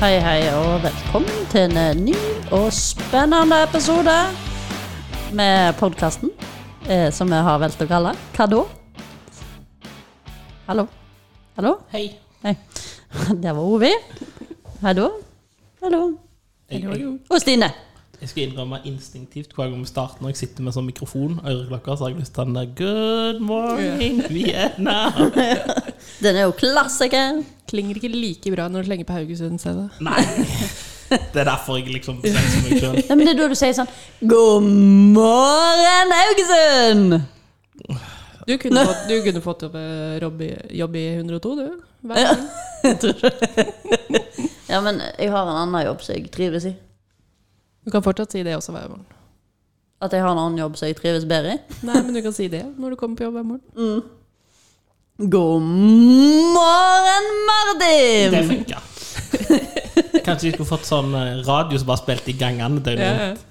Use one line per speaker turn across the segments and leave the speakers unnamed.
Hei, hei, og velkommen til en eh, ny og spennende episode med podkasten, eh, som vi har valgt å kalle Hva da? Hallo? Hallo?
Hei.
Hei. Der var Ovi. Hei da. Hallo.
Jeg, jeg,
Og Stine.
jeg skal innrømme instinktivt hver gang vi starter når jeg sitter med sånn mikrofon og øreklokker, så har jeg lyst til den der Good morning, Vienna.
Den er jo klassiker.
Klinger ikke like bra når du slenger på Haugesund stedet.
Nei. Det er derfor jeg liksom bestemmer meg sjøl.
Nei, men det er da du sier sånn God morgen, Haugesund!
Du kunne fått, du kunne fått jobb, jobb, i, jobb i 102, du. Hver gang.
Ja, men jeg har en annen jobb som jeg trives i.
Du kan fortsatt si det også hver morgen.
At jeg har en annen jobb som jeg trives bedre i.
Nei, men du kan si det når du kommer på jobb hver morgen.
God morgen,
Det
Mardim!
funka. Kanskje vi skulle fått sånn eh, radio som bare spilte i gangene
Ja,
døgnet
ja.
rundt.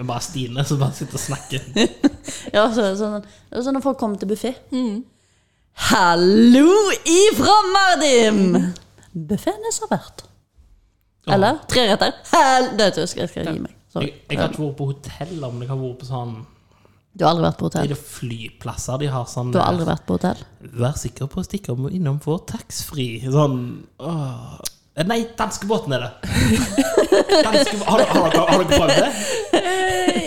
Men bare Stine som bare sitter og snakker.
Ja, så, sånn, det er sånn når folk kommer til buffé.
Mm.
Hallo ifra Mardim! Buffeen er servert. Eller tre retter. Hel det tror jeg skal, jeg skal gi meg. Sorry.
Jeg, jeg har ikke vært på hotell, men jeg har vært på sånn
Du har aldri vært på
Er
hotell?
det flyplasser de har sånn
Du har aldri vært på hotell?
Vær sikker på å stikke om og innom for taxfree. Sånn åh. Eh, Nei, danskebåten er det. Danske, har, har, dere- har dere prøvd det?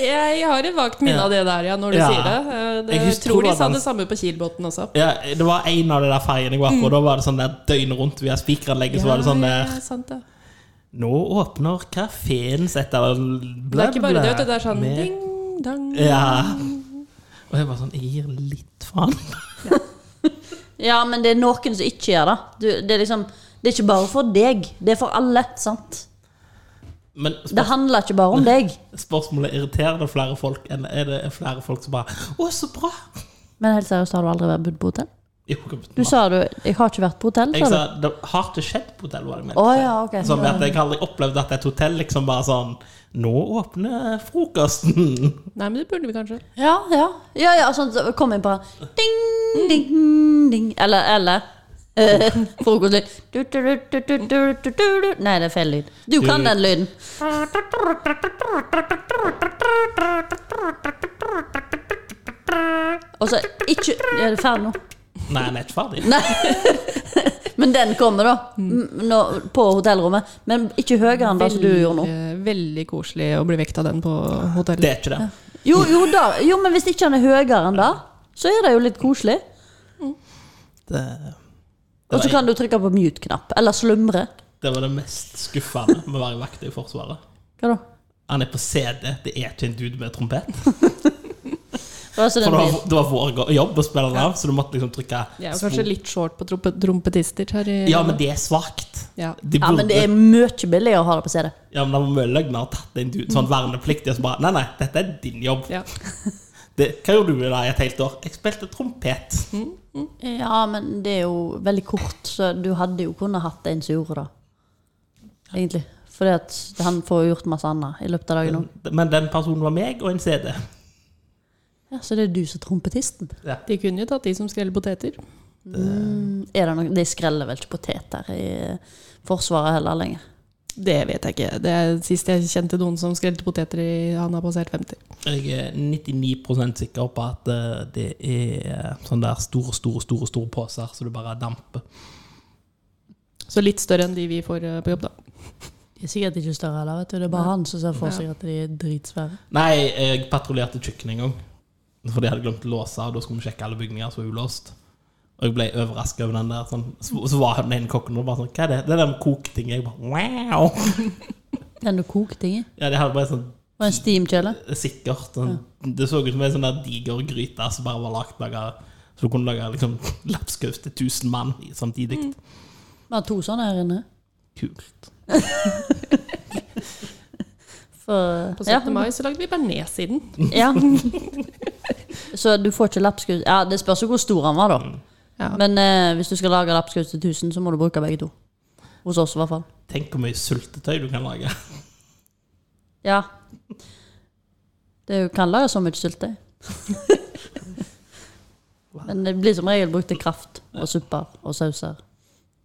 Jeg har et vagt minne av det der, ja, når du
Ja.
sier det. Eh, det.
Jeg
Jeg
husker
tror de
hvordan-
sa det samme på Kielbotn også.
Ja, det var en av de der ferjene jeg var på. Da var det sånn der døgnet rundt via spikeranlegget. Så var det sånn
Ja,
der
ja, sant det.
Nå åpner kafeen sitt eller
det er ikke bare det, vet du. Det er sånn
med-
ding, dang.
Ja. Og jeg bare sånn Jeg gir litt faen.
Ja, men det er noen som ikke gjør det. Du, det, er liksom, det er ikke bare for deg. Det er for alle, sant?
Men
Det
spør,
handler ikke bare om deg.
spørsmålet irriterer det flere folk enn er det flere folk som bare Å, så bra!
Men helt seriøst, har du aldri vært bodd på hotell?
Jo, kom igjen.
Du sa du 'jeg har ikke vært på hotell',
Jeg
sa
sa,
du.
det har ikke skjedd på hotell, var det jeg mente.
Å, ja, ok.
Som at jeg har aldri opplevd at et hotell liksom bare sånn Nå åpner frokosten!
Nei, men det burde vi kanskje.
Ja, ja. ja, ja sånn, så kom inn på ding, ding, ding. Eller, eller. eh, Frokostlyd. Du, du, du, du, du, du, du, du, du. Nei, det er feil lyd. Du kan den lyden. Og så ikke Er det ferdig nå?
Nei, den er ikke ferdig.
Nei. Men den kommer, da. M- Nå, på hotellrommet. Men ikke høyere enn det som du gjorde nå.
Veldig, veldig koselig å bli vekt av den på hotellet.
Det er ikke det.
Jo, jo, da. jo, men hvis ikke han er høyere enn det, så er det jo litt koselig. Og så
Det, det, var,
kan du trykke på mute-knapp. Eller slumre.
det var det mest skuffende med å være vakt i Forsvaret.
Hva da?
Han er på CD, det er ikke en dude med trompet.
Altså, den
For det
blir-
var, det var vår go- jobb å spille den av, så du måtte liksom trykke
Jeg er jo
spor.
kanskje litt short på trompe- trompetister her i
Ja, men det er svakt.
Ja.
De
ja, men
burde,
det er mye billigere å ha det på CD.
ja, men det var mye løgn å ha tatt en dude sånn vernepliktig og så bare Nei, nei, dette er din jobb.
Ja.
Det, hva gjorde du da i et helt år? Jeg spilte trompet.
Ja, men det er jo veldig kort, så du hadde jo kunnet hatt en som gjorde det. Egentlig. Fordi at han får jo gjort masse annet i løpet av dagen òg.
Men den personen var meg og en CD.
Ja, så det er du som er trompetisten.
Ja.
De kunne jo tatt de som skreller poteter.
Mm, Er det noe, de skreller vel ikke poteter i eh, Forsvaret heller lenger.
Det vet jeg ikke. Det er sist jeg kjente noen som skrelte poteter i han har passert 50.
Jeg er 99 sikker på at eh, det er eh, sånne der store, store, store store poser så du bare damper.
Så litt større enn de vi får eh, på jobb, da.
De er sikkert ikke større heller, vet du. Det er bare han som ser for seg at de er dritsvære.
Nei, jeg patruljerte kjøkkenet en gang. For de hadde glemt å låse, og da skulle vi sjekke alle bygninger som var ulåst. Og jeg ble overraska over den der. Sånn. Så, så var den ene kokken og bare sånn Hva er det? Det er den koketingen. Jeg bare wow!
Den du kokte i?
Ja, de hadde bare sånn
Og en steamkjele?
sikkert sånn, Det så ut som en sånn der diger gryte som bare var lagt laga Så du kunne lage liksom lapskaus til 1000 mann i- samtidig.
Vi har to sånne her inne.
Kult.
For,
På 17. mai så lagde vi bearnés i den.
Ja. Så du får ikke lapskaus Ja, Det spørs jo hvor stor han var, da.
Ja.
Men eh, hvis du skal lage lapskaus til 1000, så må du bruke begge to. Hos oss, i hvert fall.
Tenk hvor mye sultetøy du kan lage.
Ja. Det er jo- kan lage så mye syltetøy. Men det blir som regel brukt til kraft Mm. og supper og sauser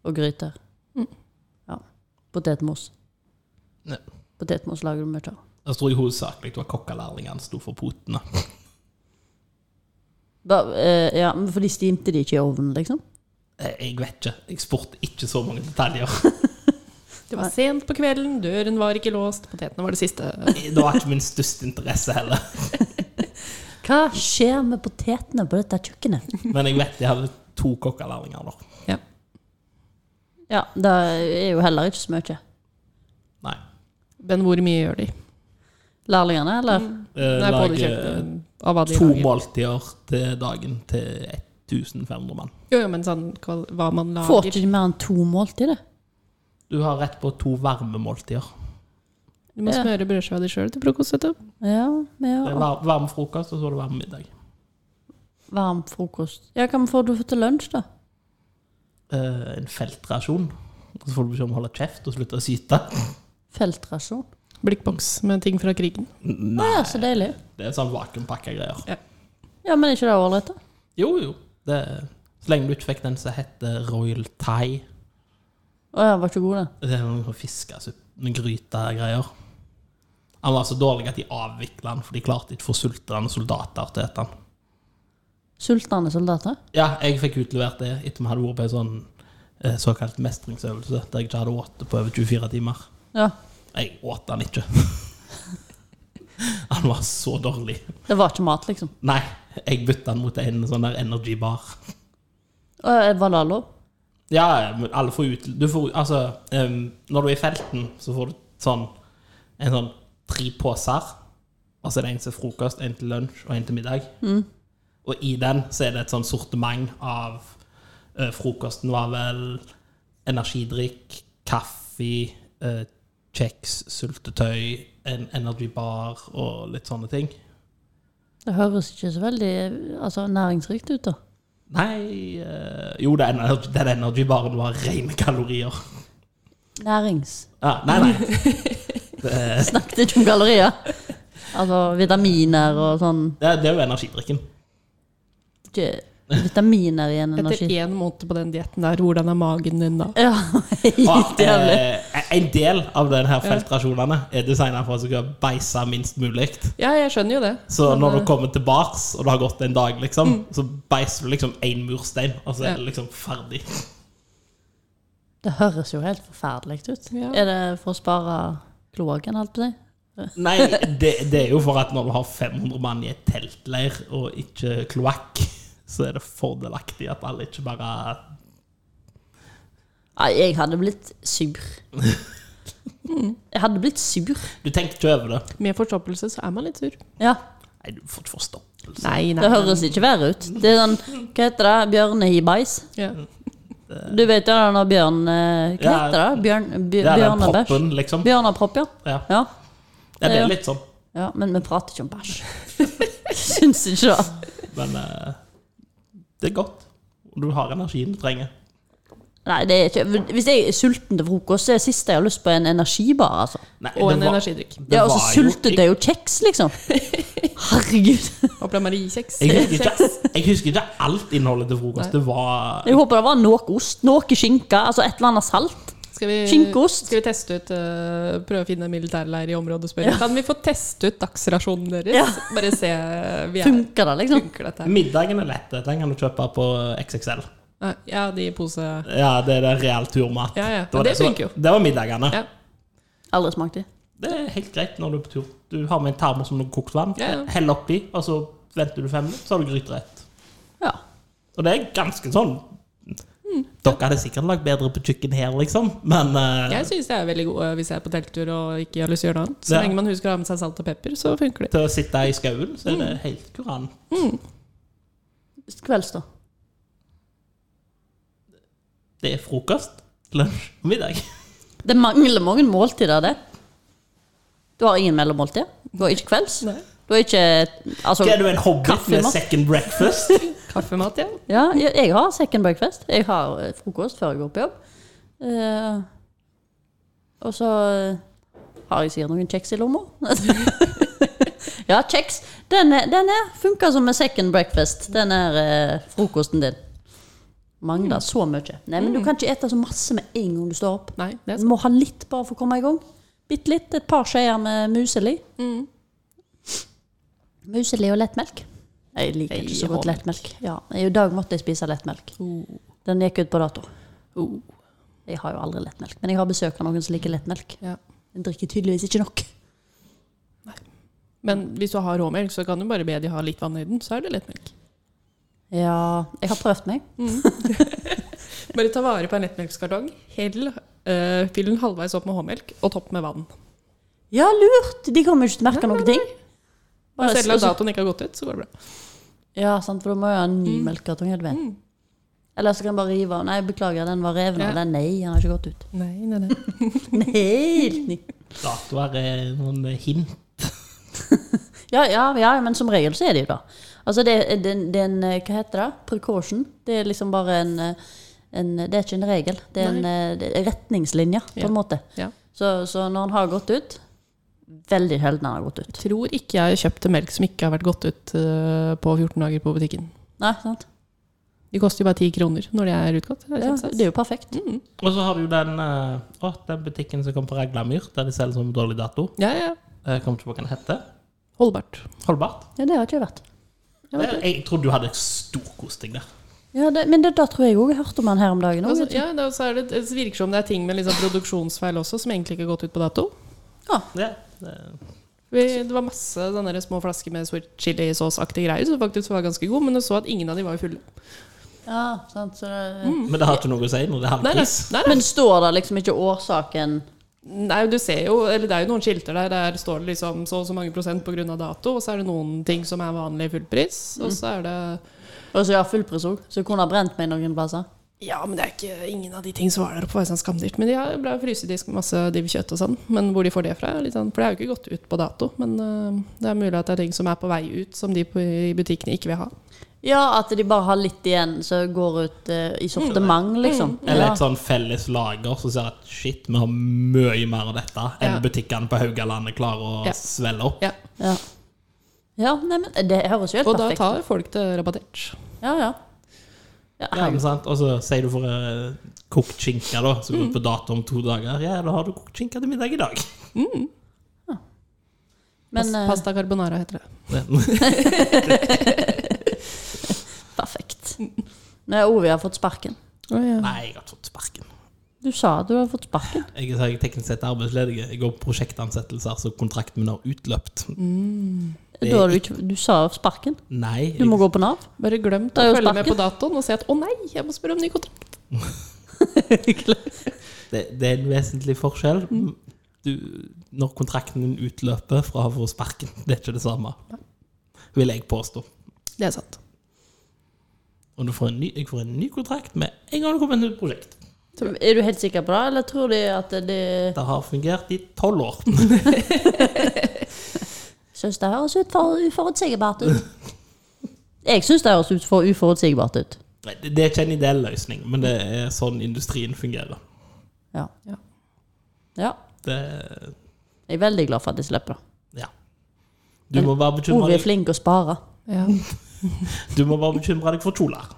og gryter. Ja. Potetmos.
Ja.
Potetmos lager du mye av.
Jeg tror i hovedsakelig det var kokkelærlingen som sto for potene.
Ba- eh, Ja, men for de stimte de ikke i ovnen, liksom?
Eh, Jeg vet ikke. Jeg spurte ikke så mange detaljer.
Det var sent på kvelden, døren var ikke låst, potetene var det siste.
Eh, Det var ikke min største interesse heller.
Hva skjer med potetene på dette kjøkkenet?
Men jeg vet de hadde to kokkelærlinger der.
Ja.
Ja, det er jo heller ikke så mye.
Nei.
Men hvor mye gjør de?
Lærlingene, eller?
Eh,
Nei, på det
lage
kjøkkenet, av hva de
to
lager.
måltider til dagen til 1500 mann.
Jo, jo, men sånn kval- hva man
Får ikke
lager.
de mer enn to måltider?
Du har rett på to varme måltider.
Du må
Ja.
smøre brødskiva di sjøl til frokost. vet du.
Ja, men
Det
ja.
er var- varm frokost, og så er det varm middag.
Varm frokost. Ja, hva får du til lunsj, da?
Eh, en feltrasjon. Og Så får du beskjed om å holde kjeft og slutte å syte.
Feltrasjon.
Blikkboks med ting fra krigen.
Å
Nei,
ja, så deilig.
det er sånn vakuumpakka greier.
Ja, men er ikke det ålreit, da?
Jo, jo. Det, så lenge du ikke fikk den som heter Royal Thai.
Å ja, var ikke god, den.
Det er noen fiskesuppe, altså, grytegreier. Han var så dårlig at de avvikla han, for de klarte ikke å få sultende soldater til å ete han.
Sultne soldater?
Ja, jeg fikk utlevert det etter vi hadde vært på en sånn eh, såkalt mestringsøvelse der jeg ikke hadde ått på over 24 timer.
Ja.
Jeg åt han ikke. Han var så dårlig.
Det var ikke mat, liksom.
Nei, jeg bytta han mot en sånn der energy bar.
Å, ja, var det lov?
Ja, men alle får ut Du får altså em, Når du er i felten, så får du sånn en sånn tre poser. Og så er det en til frokost, en til lunsj og en til middag. Og i den så er det et sånn sortiment av eh, Frokosten var vel energidrikk, kaffe, eh, kjeks, sultetøy, en energy bar og litt sånne ting.
Det høres ikke så veldig altså, næringsrikt ut, da.
Nei eh, Jo, den energy, den energy baren var rene kalorier.
Nærings.
Ah, nei, nei. Det,
Snakket ikke om gallerier. Altså vitaminer og sånn.
Det, det er jo energidrikken.
Ikke vitaminer i en
Etter
energi.
én måned på den dietten der, hvordan er magen din da?
Ja, helt
Og,
jævlig.
eh, en del av denne her feltrasjonene er designet for at du skal beise minst mulig.
Ja, jeg skjønner jo det.
Så
Men,
når du
eh,
kommer til bars, og det har gått en dag, liksom,
Mm.
så beiser du liksom én murstein, og så
Ja.
er det liksom ferdig.
Det høres jo helt forferdelig ut.
Ja.
Er det for å spare kloakken, holdt på å si?
Nei, det, det er jo for at når du har 500 mann i et teltleir og ikke kloakk, så er det fordelaktig at alle ikke bare
Nei, jeg hadde blitt sur. Jeg hadde blitt sur.
Du tenker ikke over det.
Med forstoppelse så er man litt sur.
Ja,
Nei, du får ikke forstoppelse.
Nei, nei.
det høres ikke verre ut. Det er sånn, hva heter det, bjørnehibais?
Ja.
Du vet jo den der bjørn... eh, Hva
Ja.
heter det? Bjørn,
Det er den
bjørnebæsj?
proppen, liksom.
Bjørnepropp, ja.
Ja.
ja.
ja, det
Ja.
er litt sånn.
Ja, men vi prater ikke om bæsj. Syns ikke det.
Men eh, det er godt. Og du har energien du trenger.
Nei, det er ikke Hvis jeg er sulten til frokost, så er det siste jeg har lyst på, en energibar, altså.
Nei,
Og
det
en
var-
energidrikk.
det
Ja,
var
og så
jo
sultet jeg jo kjeks, liksom. Herregud.
Og Marie-kjeks.
Jeg, jeg, husker ikke- jeg husker ikke alt innholdet til frokost. Det var
Jeg håper det var noe ost, noe skinke, altså et eller annet salt.
Skal vi,
Skinkeost.
Skal vi teste ut eh, Prøve å finne en militærleir i området og spørre Kan vi få teste ut dagsrasjonen deres?
Ja.
Bare se vi er,
Funker det, liksom?
funker dette her.
Middagen er lett. Den kan du kjøpe på XXL.
Nei, Ja, de i pose
Ja, Det er det real turmat.
Ja, ja.
var
Men det
som-
funker jo.
Det var middagene.
Ja.
Aldri smakt det.
Det er helt greit når du er på tur. Du har med en termos med noe kokt vann,
Ja, ja.
hell oppi, og så venter du fem minutter, så har du gryterett.
Ja.
Og det er ganske sånn
Mm.
Dere hadde sikkert lagd bedre på kjøkken her, liksom, men eh,
Jeg synes jeg er veldig god eh, hvis jeg er på telttur og ikke har lyst til å gjøre noe annet Så
Ja.
lenge man husker å ha med seg salt og pepper, så funker det
til å sitte i skauen, så er
Mm.
det helt kurant.
Kvelds, da.
Det er frokost, lunsj og middag.
Det mangler mange måltider, det. Du har ingen mellommåltid. Du har ikke kvelds.
Nei.
Du har ikke Altså
Hva er du, en hobbit
Kaffe,
med
mat.
second breakfast?
Kaffemat, ja
Ja, jeg, jeg har second breakfast. Jeg har eh, frokost før jeg går på jobb. Eh, og så eh, har jeg sikkert noen kjeks i lomma. ja, kjeks. Den, er, den er, funker som en second breakfast, den er eh, frokosten din. Mangler så mye. Nei, men du kan ikke ete så masse med en gang du står opp.
Nei, det er
Du må ha litt bare for å komme i gang. Bitte litt. Et par skjeer med museli.
Mm.
Museli og lettmelk. Jeg liker ikke så
Jeg
godt
har
lettmelk. Oh. Ja, I dag måtte jeg spise lettmelk. Den gikk ut på dato.
Oh.
Jeg har jo aldri lettmelk, men jeg har besøk av noen som liker lettmelk.
Ja.
Den drikker tydeligvis ikke nok.
Men hvis du har råmelk, så kan du bare be de ha litt vann i den, så er det lettmelk.
Ja, jeg har prøvd meg.
Bare ta vare på en lettmelkskartong. Hell, eh, fyll den halvveis opp med håmelk, og topp med vann.
Ja, lurt! De kommer jo ikke til å merke noen ting.
Og
Bare-
selv om
og så-
datoen ikke har gått ut, så går det bra.
Ja, sant, for du må jo ha en ny melkekartong. helt vet. Eller så kan jeg bare rive av. Nei, beklager, den var reven av.
Ja.
Den, nei, den har ikke gått ut.
Nei, nei, nei.
Den er Helt ny.
Datoer er eh, noen hint.
Ja, ja, ja, men som regel så er det jo da. Altså det, er- det, er- det er en eh, Hva heter det? Precaution. Det er liksom bare en, eh, en Det er ikke en regel. Det er en eh, det er retningslinje, på
Ja.
en måte.
Ja.
Så, så når den har gått ut Veldig sjelden den har gått ut.
Tror ikke jeg kjøpte melk som ikke har vært gått ut eh, på 14 dager på butikken.
Nei, sant?
De koster jo bare 10 kroner når de er utgått. Det er Mm.
Ja,
kjempesats.
det er jo perfekt.
Og så har du jo den, eh, å, den butikken som kom på Raglamyr, der de selger sånn dårlig dato.
ja, ja.
Jeg kommer ikke på hva den heter.
Holdbart.
Holdbart.
Ja, det har ikke jeg vært.
Jeg, Eh, jeg trodde du hadde storkost deg der.
Ja, det, men det, da tror jeg òg jeg hørte om han her om dagen.
Altså,
Også,
ja, det, så er det, det virker som det er ting med liksom produksjonsfeil også, som egentlig ikke har gått ut på dato.
Ja, det-
Vi, det var masse sånne der små flasker med sweet chili-saus-aktige greier som faktisk var ganske gode, men du så at ingen av de var jo fulle.
ja, sant, så det,
Mm.
Men det har ikke noe å si når det er
Nei, nei,
halvpris.
nei,
Men står det liksom ikke årsaken
nei. nei, du ser jo, eller det er jo noen skilter der der står det liksom så og så mange prosent på grunn av dato, og så er det noen ting som er vanlig fullpris,
Mm.
og så er det
Og så ja, fullpris òg, så kunne ha brent meg noen plasser.
Ja, men det er ikke ingen av de ting som var der oppe var sånn skamdyrt. Men de har bra frysedisk med masse div kjøtt og sånn. Men hvor de får det fra, er litt sånn, for det er jo ikke gått ut på dato. Men øh, det er mulig at det er ting som er på vei ut, som de på, i butikkene ikke vil ha.
Ja, at de bare har litt igjen som går ut eh, i sortiment, liksom.
Eller et
Ja.
sånn felles lager som ser at shit, vi har mye mer av dette enn
Ja.
butikkene på Haugalandet klarer å
Ja.
svelle opp.
Ja.
Ja. ja, nei, men det høres jo helt
Og da
perfekt ut.
tar folk det rabattert.
Ja, ja. Ja,
Ja, men
herregud.
sant? Og så sier du for eh, kokt skinke, da, som går ut på dato om to dager. Ja, da har du kokt skinke til middag i dag.
men
Pas-
eh,
Pasta carbonara heter det.
perfekt. Nei, Ovi har fått sparken.
Å, ja.
Nei, jeg har ikke fått sparken.
Du sa at du har fått sparken.
Jeg er jeg er teknisk sett arbeidsledig. Jeg går på prosjektansettelser, så kontrakten min har utløpt.
Mm.
Det er
Da har du, ikke, du sa sparken.
Nei.
Du
jeg-
må gå på Nav.
Bare glemt
Det er jo
å følge med
sparken.
på datoen og si at å nei, jeg må spørre om ny kontrakt.
Det, det er en vesentlig forskjell.
Mm.
Du, når kontrakten din utløper fra å få sparken, det er ikke det samme. Vil jeg påstå.
Det er sant.
Og du får en ny, jeg får en ny kontrakt med en gang det kommer et nytt prosjekt.
Er du helt sikker på det, eller tror de at det
Det har fungert i tolv år.
Syns det høres ut for uforutsigbart ut. Jeg syns det høres ut for uforutsigbart ut.
Nei, Det, det er ikke en ideell løsning, men det er sånn industrien fungerer.
Ja.
Ja.
ja.
Det,
Jeg er veldig glad for at jeg slipper det.
ja. Du må bare bekymre
Ove er
deg,
flink å spare.
Ja.
du må bare bekymre deg for kjoler.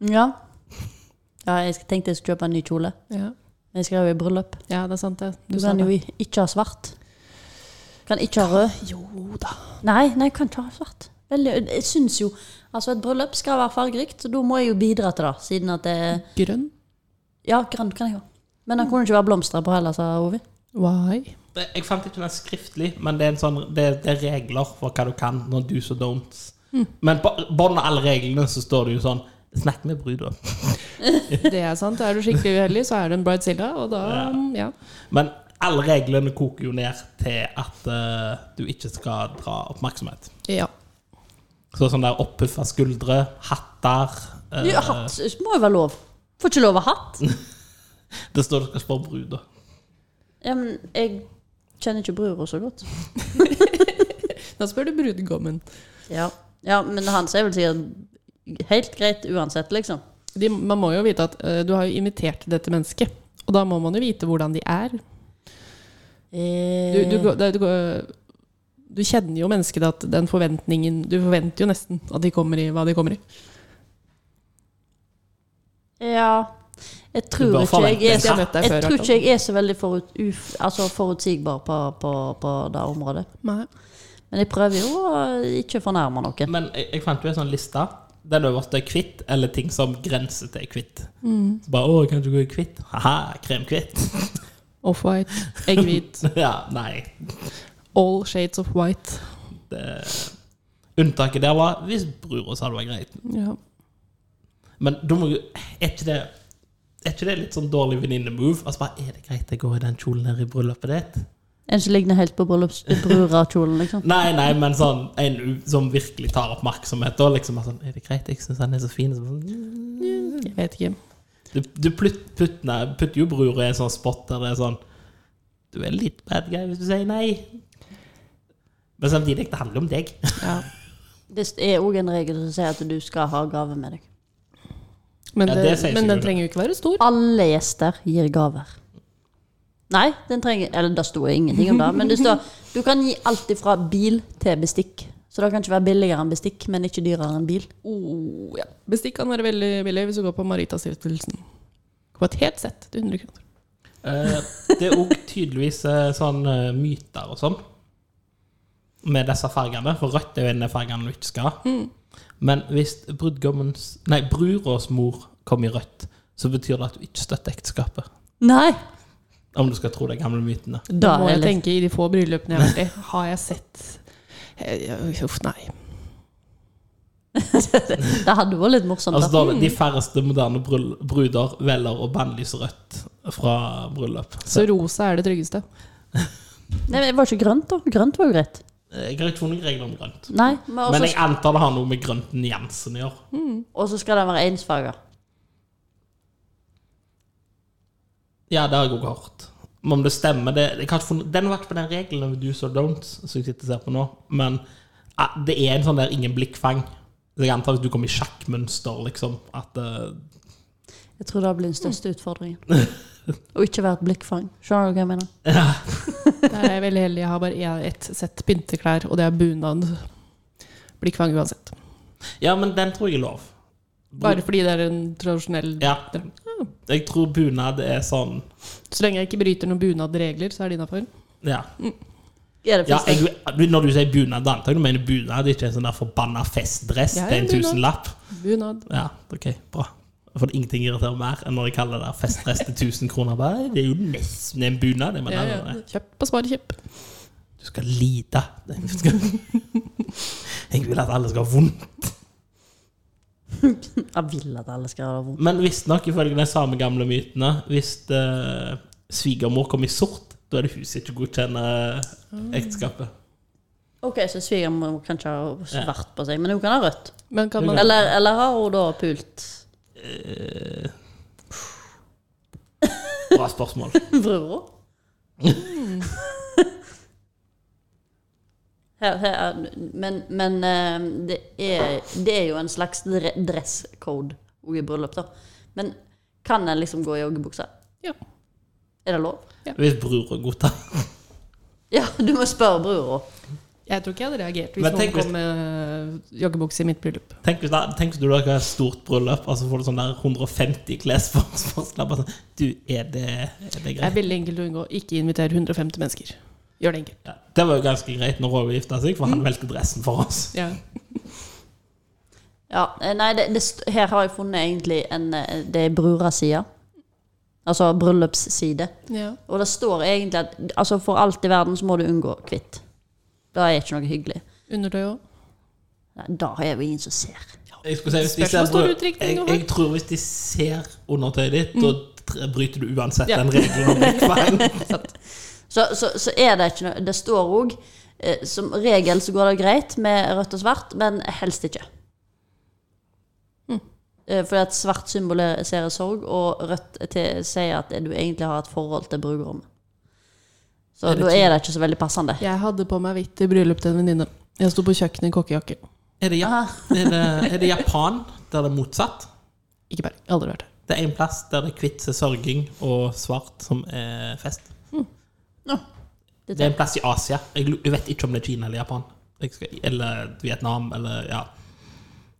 Ja. ja jeg sk- tenkte jeg skulle kjøpe en ny kjole.
Ja.
Men jeg skal jo i bryllup.
ja, det er sant det.
Du
sa
kan jo
det.
i- ikke ha svart. Kan ikke ha rød.
Jo da.
Nei, nei, jeg kan ikke ha svart. Veldig, jeg syns jo Altså, et bryllup skal være fargerikt, så da må jeg jo bidra til det, siden at det
Grønn.
Ja, grønt kan jeg ha. Men den kunne ikke være blomster på heller, sa Ovi.
Eh. Why?
Det- Jeg fant ikke den skriftlig, men det er, en sånn, det, det er regler for hva du kan når do's og don'ts. Men på bånd av alle reglene så står det jo sånn Snakk med bruden.
Det er sant. Er du skikkelig uheldig, så er du en bridezilla, og da ja.
Men alle reglene koker jo ned til at eh, du ikke skal dra oppmerksomhet.
ja.
Så sånn der oppuffa skuldre, hatter eh,
Ja, hatt må jo være lov. Får ikke lov å ha hatt.
Det står du skal spørre bruden.
Ja, men jeg kjenner ikke brura så godt.
Da spør du brudgommen.
Ja. ja, men han sier vel sikkert helt greit uansett, liksom.
De, man må jo vite at eh, du har jo invitert dette mennesket, og da må man jo vite hvordan de er. Du, du, går- det- du, går- du kjenner jo mennesket at den forventningen Du forventer jo nesten at de kommer i hva de kommer i.
Ja, Jeg
Du
tror
bør
ikke jeg er
Jeg har
så,
møtt deg
jeg
før. i
tror
hvert
ikke
fall.
jeg er så veldig forut, uf, altså forutsigbar på, på, på det området.
Nei.
Men jeg prøver jo å ikke fornærme noen.
Men jeg, jeg fant jo en sånn liste. Den øverste er kvitt, eller ting som grenser til kvitt. Så bare 'Å, kan du gå i kvitt?' Haha, kremkvitt.
Offwhite, egghvit,
ja, nei.
all shades of white.
Det, eh, unntaket der var hvis brura sa det var greit.
Ja.
Men da må jo Er ikke det er ikke det litt sånn dårlig venninne-move? Altså bare, Er det greit jeg går i den kjolen her i bryllupet ditt?
En som ligner helt på brudekjolen, liksom.
Nei, nei, men sånn en u- som virkelig tar oppmerksomhet. Da liksom er sånn Er det greit? Jeg syns han er så fin. Så bare sånn,
Jeg vet ikke.
Du, du putter putt, nei, putter jo bror i en sånn spot der det er sånn Du er litt bad guy hvis du sier nei. Men samtidig, det handler om deg.
Ja.
Det er òg en regel som sier at du skal ha gave med deg.
Men,
Ja,
det,
det sier
men den
sikkert.
trenger jo ikke være stor.
Alle gjester gir gaver. Nei, den trenger Eller det står ingenting om det, men det står du kan gi alt ifra bil til bestikk. Så det kan ikke være billigere enn bestikk, men ikke dyrere enn bil.
Oh, ja. Bestikk kan være veldig billig hvis du går på Maritastiftelsen. På et helt sett til 100 kroner.
Eh, det er òg tydeligvis eh, sånn eh, myter og sånn med disse fargene. For rødt er jo en av fargene du ikke skal ha. Men hvis brudgommens Nei, bruras mor kom i rødt, så betyr det at du ikke støtter ekteskapet.
Nei!
Om du skal tro de gamle mytene.
Da må jeg
eller-
tenke i de få bryllupene jeg har vært i. Har jeg sett Eh, Uff, nei.
Det hadde vært litt morsomt.
Altså,
Sånn, da.
da, de færreste moderne bryll- bruder velger å bannlyse rødt fra bryllup.
Så rosa er det tryggeste.
Nei, men det var ikke grønt, da. Grønt var jo greit.
eh, Jeg har ikke funnet regler om grønt.
Nei, men
Men
også,
jeg antar det har noe med grønt-nyansen å gjøre.
og så skal den være ensfarga.
Ja, det har jeg også hørt. Men om det stemmer det, jeg har ikke funnet, Den har vært på den regelen over do's or don'ts som jeg sitter og ser på nå. Men eh, det er en sånn der ingen blikkfang. Så Jeg antar hvis du kommer i sjakkmønster, liksom, at eh,
Jeg tror det blir den største utfordringen. Å ikke være et blikkfang. Skjønner du hva jeg mener?
Der er jeg veldig heldig. Jeg har bare én- ett sett pynteklær, og det er bunad. Blir kvang uansett.
Ja, men den tror jeg er lov.
Bare fordi det er en tradisjonell
Ja. Jeg tror bunad er sånn
Så lenge jeg ikke bryter noen bunadregler, så er det innafor.
Ja.
Er det
Ja,
første-
jeg, når du sier bunad, da antar jeg du mener bunad, ikke en sånn der forbanna festdress
Ja, ja,
til en
bunad.
tusenlapp.
Bunad.
Ja, ok, bra. For ingenting irriterer mer enn når de kaller det der festdress til 1000 kroner. Bare, det er jo nesten en bunad. Men
Ja,
nei,
ja.
nei, nei.
Kjøp og spar kjøp.
Du skal lide. Du skal... Jeg vil at alle skal ha vondt.
Jeg vil at alle skal ha vondt.
Men visstnok, ifølge de samme gamle mytene, hvis eh, svigermor kommer i sort, da er det huset ikke godkjenner eh, ekteskapet.
Ok, så svigermor kan ikke ha svart på seg, men hun kan ha rødt.
Men kan man
Eller, eller har hun da pult
Eh, Bra spørsmål.
brura? Mm. Her, her, er- men men eh, det, er, det er jo en slags dre- dresscode også i bryllup, da. Men kan en liksom gå i joggebukse?
Ja.
Er det lov?
Hvis brura godtar.
Ja, du må spørre brura.
Jeg tror ikke jeg hadde reagert hvis
Men
noen
tenk hvis-
kom med joggebukse i mitt bryllup.
Tenk hvis, da, tenk hvis du da har et stort bryllup, og så får du sånn der 150 klesforspørsler. bare sånn, Du, er det, er det
Det er
greit?
veldig enkelt å unngå. Ikke inviter 150 mennesker. Gjør det enkelt.
Ja, det var jo ganske greit når Roger gifta seg, for han valgte dressen for oss.
Ja.
Ja, eh, nei, det, det, st- her har jeg funnet egentlig en eh, Det er bruras side. Altså bryllupsside.
ja.
Og det står egentlig at altså for alt i verden så må du unngå hvitt. Det er ikke noe hyggelig.
Undertøy òg.
Nei, Det er jo ingen som ser.
Jeg, skulle si, hvis de
Spørs hvor
ser,
stor
brød-
utdrikning
jeg,
du har.
jeg tror hvis de ser undertøyet ditt,
Mm.
da tr- bryter du uansett den regelen om blikkfang.
Så, så, så er det ikke noe Det står òg eh, Som regel så går det greit med rødt og svart, men helst ikke.
Mm.
Eh, Fordi at svart symboliserer sorg, og rødt til, sier at du egentlig har et forhold til brukerrommet. Så
Er det
da
ikke-
er det ikke så veldig passende.
Jeg hadde på meg hvitt i bryllup til en venninne. Jeg sto på kjøkkenet i kokkejakke.
Er det, ja, er, det, er det Japan der det er motsatt?
Ikke peiling. Aldri vært her.
Det er en plass der det er hvitt som er sørging og svart som er fest.
Hm.
Ja.
Det er en plass i Asia. Jeg lu- jeg vet ikke om det er Kina eller Japan. Jeg skal, eller Vietnam eller ja.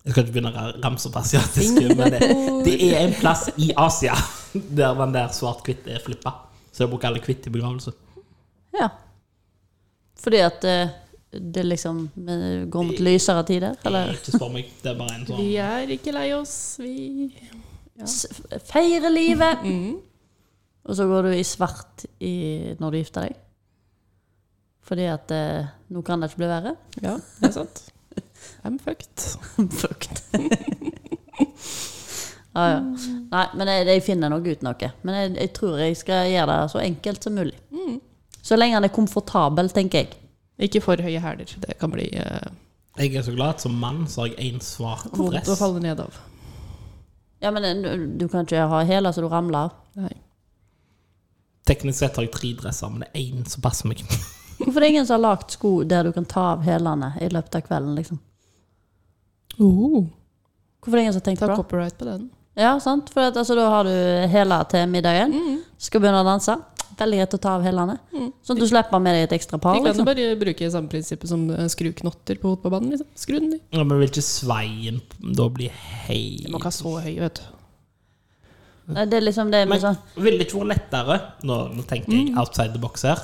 Jeg skal ikke begynne å ra- ramse opp asiatiske, men det, det er en plass i Asia der den der svart hvitt er flippa. Så jeg bruker alle hvitt i begravelse.
Ja. Fordi at eh, det liksom eh, går mot lysere tider, eller?
Ikke spør meg. Det er bare en sånn
Vi er ikke lei oss, vi
S- Feire livet! Og så går du i svart i, når du gifter deg. Fordi at eh, nå kan det ikke bli verre.
Ja, det er sant. I'm fucked.
Fucked. ja, ja. Nei, men jeg, jeg finner nok ut noe. Men jeg, jeg tror jeg skal gjøre det så enkelt som mulig. Så lenge han er komfortabel, tenker jeg.
Ikke for høye hæler. Det kan bli eh,
Jeg er så glad at som mann så har jeg én svart
vondt
dress.
å falle ned av.
Ja, men eh, du, du kan ikke ha hæler så du ramler.
Nei.
Teknisk sett har jeg tre dresser, men det er én som passer meg.
Hvorfor er det ingen som har lagd sko der du kan ta av hælene i løpet av kvelden? liksom?
Oh,
Hvorfor er det ingen som har tenkt
Ta
på det?
copyright på den.
Ja, sant? For at, altså, da har du hæler til middagen. Skal begynne å danse. Veldig greit å ta av hælene. Sånn at du slipper med deg et ekstra par.
Vi kan jo
Liksom.
bare bruke samme prinsippet som eh, skruknotter på fotballbanen. Liksom. Skru den i.
Ja, men vil ikke sveien da bli helt
Du må ikke ha så høy, vet du.
Nei, det er liksom det med
Men
sånn
ville det ikke vært lettere, nå, nå tenker jeg
Mm.
outside the box her,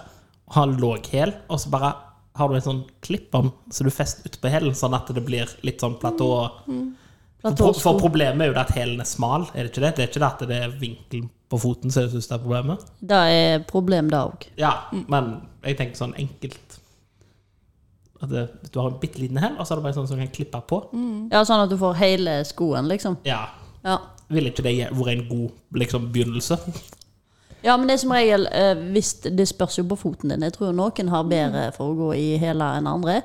å ha en låg hæl, og så bare har du en sånn klipp om, så du fester utpå hælen, sånn at det blir litt sånn platå.
Mm.
For, pro-
platåsko.
for problemet er jo det at hælen er smal, er det ikke det? Det er ikke det at det er vinkelen på foten som jeg syns er problemet.
Det er problem, det òg.
Ja,
Mm.
men jeg tenker sånn enkelt at det, Du har en bitte liten hæl, og så er det bare sånn som du kan klippe på.
Mm.
Ja, sånn at du får hele skoen, liksom.
Ja.
Ja.
Ville ikke det vært en god liksom, begynnelse?
ja, men det er som regel eh, hvis Det spørs jo på foten din. Jeg tror noen har bedre for å gå i hæler enn andre.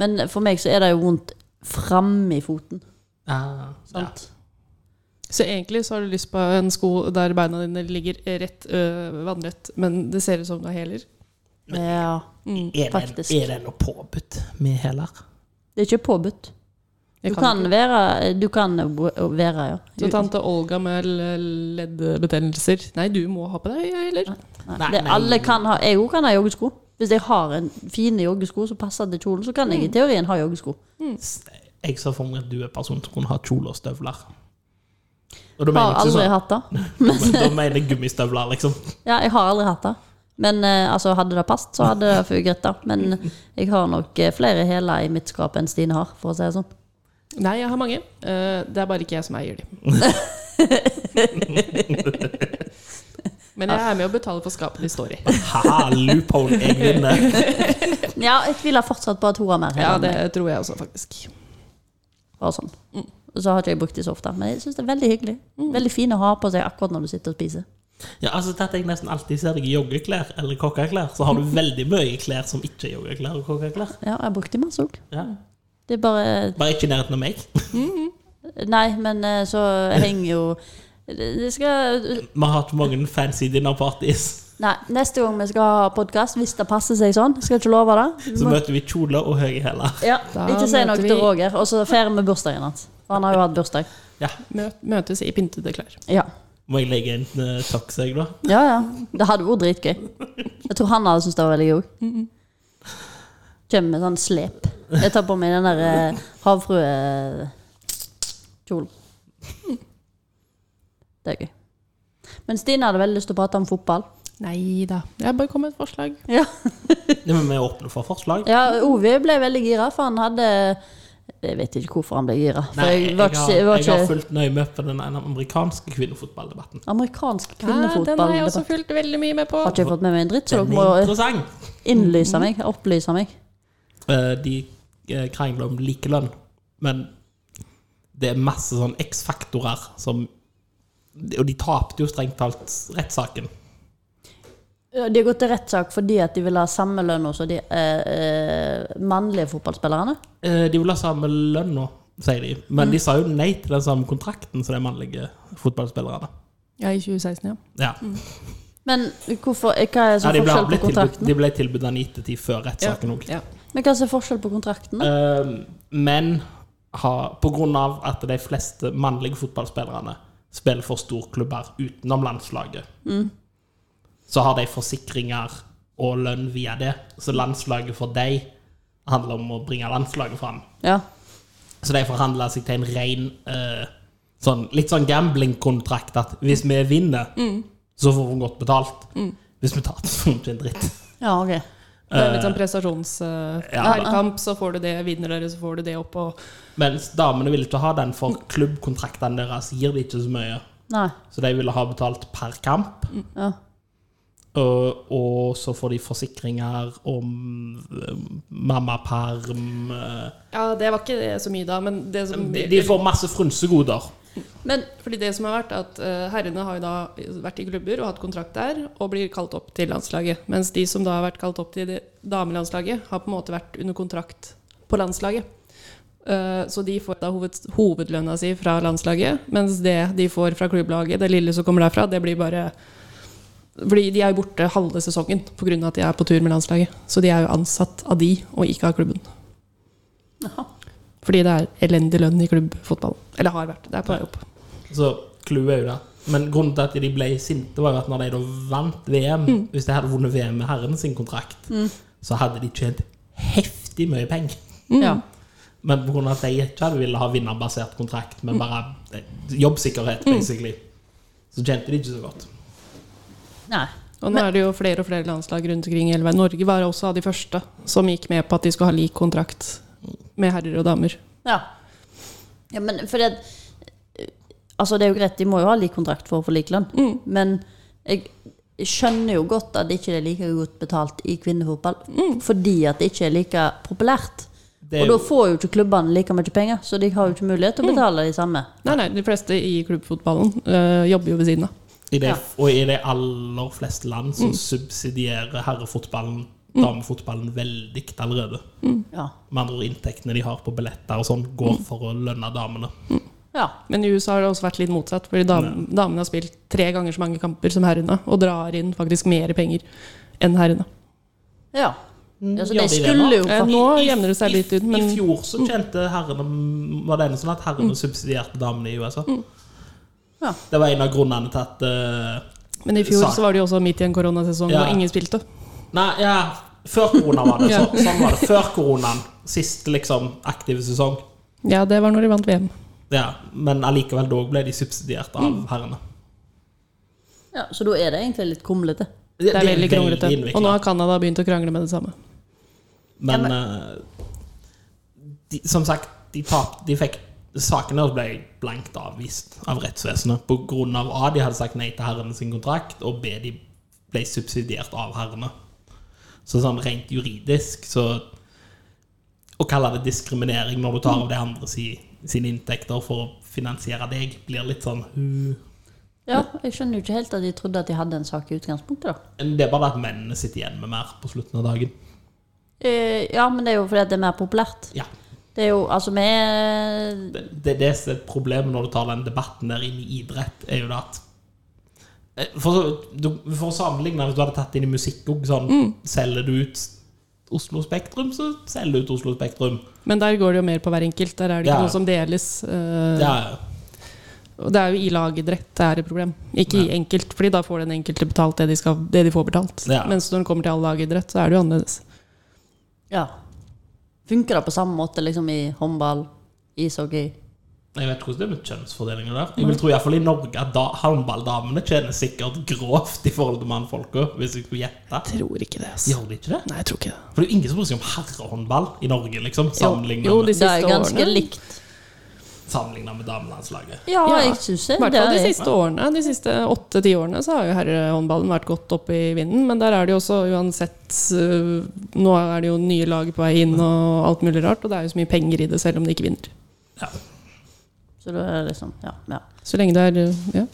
Men for meg så er det jo vondt framme i foten.
Ah, ja.
Sant?
Så egentlig så har du lyst på en sko der beina dine ligger rett øh, vannrett, men det ser ut som du har hæler.
Ja.
Er det,
Mm, Faktisk.
er det noe påbudt med hæler?
Det er ikke påbudt. Du
Jeg
kan,
ikke.
være Du kan være, ja.
Så tante Olga med l- leddbetennelser Nei, du må ha på deg hæler.
Nei,
Nei,
det,
men-
alle kan ha, jeg òg kan ha joggesko. Hvis jeg har en fine joggesko som passer til kjolen, så kan jeg
Mm.
i teorien ha joggesko.
Jeg så for meg at du er personen som kunne ha kjole og støvler. Og
Har
da mener jeg
aldri hatt
ikke
det.
sånn, da mener jeg gummistøvler, liksom.
Ja, jeg har aldri hatt det. Men eh, altså, hadde det passet, så hadde det vært greit, da. Men jeg har nok eh, flere hæler i mitt skap enn Stine har, for å si det sånn.
Nei, jeg har mange. Eh, det er bare ikke jeg som eier de. Men jeg er med å betale for skapet de står i.
Haha, loophole, eh. jeg vinner.
Ja, jeg tviler fortsatt på at hun har mer
Ja,
hæler. enn meg,
det tror jeg også, faktisk.
Bare sånn. Og så har ikke jeg brukt de så ofte. Men jeg syns det er veldig hyggelig.
Mm.
Veldig fine å ha på seg akkurat når du sitter og spiser.
Ja, altså det at jeg nesten alltid ser deg i joggeklær eller kokkeklær, så har du veldig mye klær som ikke er joggeklær og kokkeklær.
Ja, jeg har brukt de masse òg.
Ja.
Det er bare
Bare ikke i nærheten av meg.
Nei, men eh, så henger jo det det skal,
Vi har hatt mange fancy dinnerparties.
Nei, neste gang vi skal ha podkast, hvis det passer seg sånn, skal jeg ikke love det.
Så møter vi kjole og høye hæler.
Ja,
Da
ikke si noe
møter vi-
til Roger. Og så feirer vi bursdagen hans. For han har jo hatt bursdag.
Ja.
Møt, møtes i pyntede klær.
Ja,
Må jeg legge en uh, socks, jeg, da?
ja. ja. Det hadde vært dritgøy. Jeg tror han hadde syntes det var veldig gøy. Kommer med sånn slep. Jeg tar på meg den der eh, havfruekjolen. Det er gøy. Men Stine hadde veldig lyst til å prate om fotball.
Nei da. Jeg bare kom med et forslag.
Ja.
Ja, men vi er åpne for forslag.
Ja, Ovi ble veldig gira, for han hadde Jeg vet ikke hvorfor han ble gira. For
Nei,
jeg var ikke, jeg
har,
var
jeg har
ikke
fulgt nøye med på den amerikanske kvinnefotballdebatten.
Amerikansk
Ja, den
kvinnefotball
har jeg også
Har
fulgt veldig mye med på.
ikke jeg fått med meg en dritt, så
Den
dere
er
må
interessant.
innlyse meg. Opplyse meg.
Eh, De eh, krangler om likelønn, men det er masse sånn X-faktorer som Og de tapte jo strengt talt rettssaken.
Ja, De har gått til rettssak fordi at de ville ha samme lønn som de eh, eh, mannlige fotballspillerne.
Eh, De vil ha samme lønn nå, sier de,
Mm.
men de sa jo nei til den samme kontrakten som de mannlige fotballspillerne.
Ja, i 2016, ja.
Ja.
Men hvorfor, eh, hva er Mm. så
Ja, de, ble,
forskjell
ble
på
tilbudt,
kontrakten?
de ble tilbudt anittetid før rettssaken òg.
Ja.
Men hva er så forskjell på kontrakten? da?
Eh, men ha, på grunn av at de fleste mannlige fotballspillerne spiller for storklubber utenom landslaget, så har de forsikringer og lønn via det. Så landslaget for deg handler om å bringe landslaget fram.
Ja.
Så de forhandla seg til en ren eh, sånn, litt sånn gamblingkontrakt at hvis vi vinner, så får vi godt betalt. Hvis vi taper, så får vi ikke en dritt.
Ja, ok.
Det er litt sånn prestasjonskamp,
Eh, Ja.
så får du det, vinner dere, så får du det opp, og
Mens damene ville ikke ha den, for klubbkontraktene deres gir de ikke så mye.
Nei.
Så de ville ha betalt per kamp.
Mm, Ja.
Og, og så får de forsikringer om eh, mammaperm eh,
Ja, det var ikke det så mye da, men det som
de, de får masse frynsegoder.
Men
Fordi det som har vært at eh, Herrene har jo da vært i klubber og hatt kontrakt der, og blir kalt opp til landslaget. Mens de som da har vært kalt opp til det- damelandslaget, har på en måte vært under kontrakt på landslaget. Eh, så de får da hoved, hovedlønna si fra landslaget, mens det de får fra klubblaget, det lille som kommer derfra, det blir bare Fordi de er jo borte halve sesongen pga. at de er på tur med landslaget. Så de er jo ansatt av de, og ikke av klubben. Fordi det er elendig lønn i klubbfotball. Eller har vært. Det er på vei opp.
Så clouet er jo det. Men grunnen til at de ble sinte, var jo at når de da vant VM
Mm.
Hvis de hadde vunnet VM med herren sin kontrakt, så hadde de tjent heftig mye penger.
ja.
Men pga. at de ikke hadde ville ha vinnerbasert kontrakt,
Mm.
men bare eh, jobbsikkerhet, basically, så tjente de ikke så godt.
Nei.
Og nå er det jo flere og flere landslag rundt omkring i hele verden. Norge var også av de første som gikk med på at de skulle ha lik kontrakt med herrer og damer.
Ja. ja men for det Altså, det er jo greit, de må jo ha lik kontrakt for å få lik lønn, men jeg skjønner jo godt at det ikke er like godt betalt i kvinnefotball fordi at det ikke er like populært.
Det er
Og da
jo-
får Mm. jo Mm. ikke klubbene like mye penger, så de har jo ikke mulighet til å betale de samme.
Nei, nei, de fleste i klubbfotballen øh, jobber jo ved siden av.
I det,
Ja.
Og i de aller fleste land
Mm.
så subsidierer herrefotballen damefotballen veldig allerede.
Ja.
Med andre ord, inntektene de har på billetter og sånn,
Mm.
går for å lønne damene.
ja.
Men i USA har det også vært litt motsatt, fordi dam, damene har spilt tre ganger så mange kamper som herrene, og drar inn faktisk mer penger enn herrene.
Ja. ja så
gjør
de
de det
skulle
da?
jo
Eh,
faktisk
nå jevner det seg litt ut, men Mm.
I fjor så tjente herrene Var det ene sånn at herrene subsidierte damene i USA?
Mm.
Ja.
Det var en av grunnene til at eh,
Men i fjor så var det jo også midt i en koronasesong,
Ja.
og ingen spilte.
Nei, ja, før korona var det.
Ja.
Så, sånn var det. Før koronaen. Sist liksom aktive sesong.
Ja, det var når de vant VM.
Ja, men allikevel dog ble de subsidiert av
Mm.
herrene.
Ja, Så da er det egentlig litt kumlete.
Det er veldig kronglete.
innviklet.
Og nå har Canada begynt å krangle med det samme.
Men, eh, de, som sagt, de, tap, de fikk Saken deres ble blankt avvist av rettsvesenet på grunn av A. De hadde sagt nei til herrene sin kontrakt, og B. De ble subsidiert av herrene. Så sånn rent juridisk, så Å kalle det diskriminering når du tar av de andre si, sine inntekter for å finansiere deg, blir litt sånn hmm.
Ja, Jeg skjønner jo ikke helt at de trodde at de hadde en sak i utgangspunktet, da.
Det er bare det at mennene sitter igjen med mer på slutten av dagen.
Eh, ja, men det er jo fordi at det er mer populært.
Ja.
Det er jo altså vi er-
det, det, det som er problemet når du tar den debatten der inn i idrett, er jo det at eh, For, så- du, for å sammenligne, hvis du hadde tatt inn i musikk og sånn
Mm.
Selger du ut Oslo Spektrum, så selger du ut Oslo Spektrum.
Men der går det jo mer på hver enkelt. Der er det ikke
Ja.
noe som deles. øh,
Ja,
Og det er jo i lagidrett det er et problem, ikke i enkelt. fordi da får den enkelte betalt det de, skal, det de får betalt.
Ja.
Mens når det kommer til all lagidrett, så er det jo annerledes.
Ja. Funker det på samme måte liksom i håndball, ishockey?
jeg vet ikke hvordan det er med kjønnsfordelingen der. Jeg vil tro i hvert fall i Norge at da, håndballdamene tjener sikkert grovt i forhold til mannfolka, hvis jeg skulle gjette.
Tror ikke det, altså.
Gjør de ikke det?
Nei, jeg tror ikke det.
For det er jo ingen som bryr seg om herrehåndball i Norge, liksom, sammenlignet
jo,
med,
de
Det er
siste
ganske
årene.
likt.
sammenlignet med damelandslaget.
Ja,
Ja,
jeg syns det.
I hvert
Det
fall de
er-
siste årene. De siste åtte-ti årene så har jo herrehåndballen vært godt oppe i vinden. Men der er det jo også uansett øh, Nå er det jo nye lag på vei inn og alt mulig rart. Og det er jo så mye penger i det selv om de ikke vinner.
Ja.
Så da er det liksom Ja. ja.
Så lenge det er øh, ja,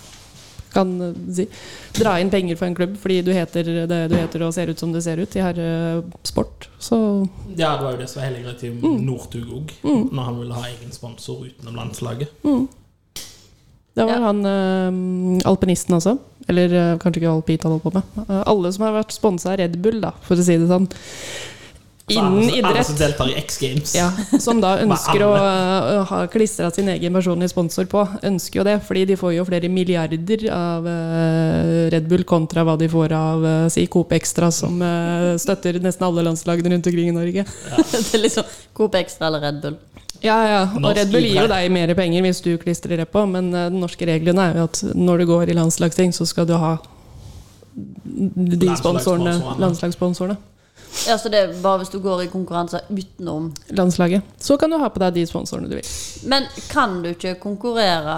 kan øh, si, dra inn penger for en klubb fordi du heter det du heter og ser ut som du ser ut i herresport, så
Ja, det var jo det som var hele greia til
Mm.
Northug òg, når han ville ha egen sponsor utenom landslaget.
Det var
Ja.
han øh, alpinisten også. Eller øh, kanskje ikke alpint han holdt på med. Øh, alle som har vært sponsa av Red Bull, da, for å si det sånn.
Så
Innen
alle, som- Alle som
idrett.
deltar i X Games.
Ja, som da ønsker å
Med
øh, ha klistra sin egen personlige sponsor på. Ønsker jo det, fordi de får jo flere milliarder av øh, Red Bull kontra hva de får av øh, si Coop Extra, som eh, øh, støtter nesten alle landslagene rundt omkring i Norge.
det er liksom Coop Extra eller Red Bull.
Ja, ja. Og
Norsk
Red Bull gir jo
idrett.
deg mer penger hvis du klistrer det på, men eh, de norske reglene er jo at når du går i landslagsting, så skal du ha de sponsorene,
Landslagssponsorene.
landslagssponsorene.
Ja, så det er bare hvis du går i konkurranser utenom
Landslaget. Så kan du ha på deg de sponsorene du vil.
Men kan du ikke konkurrere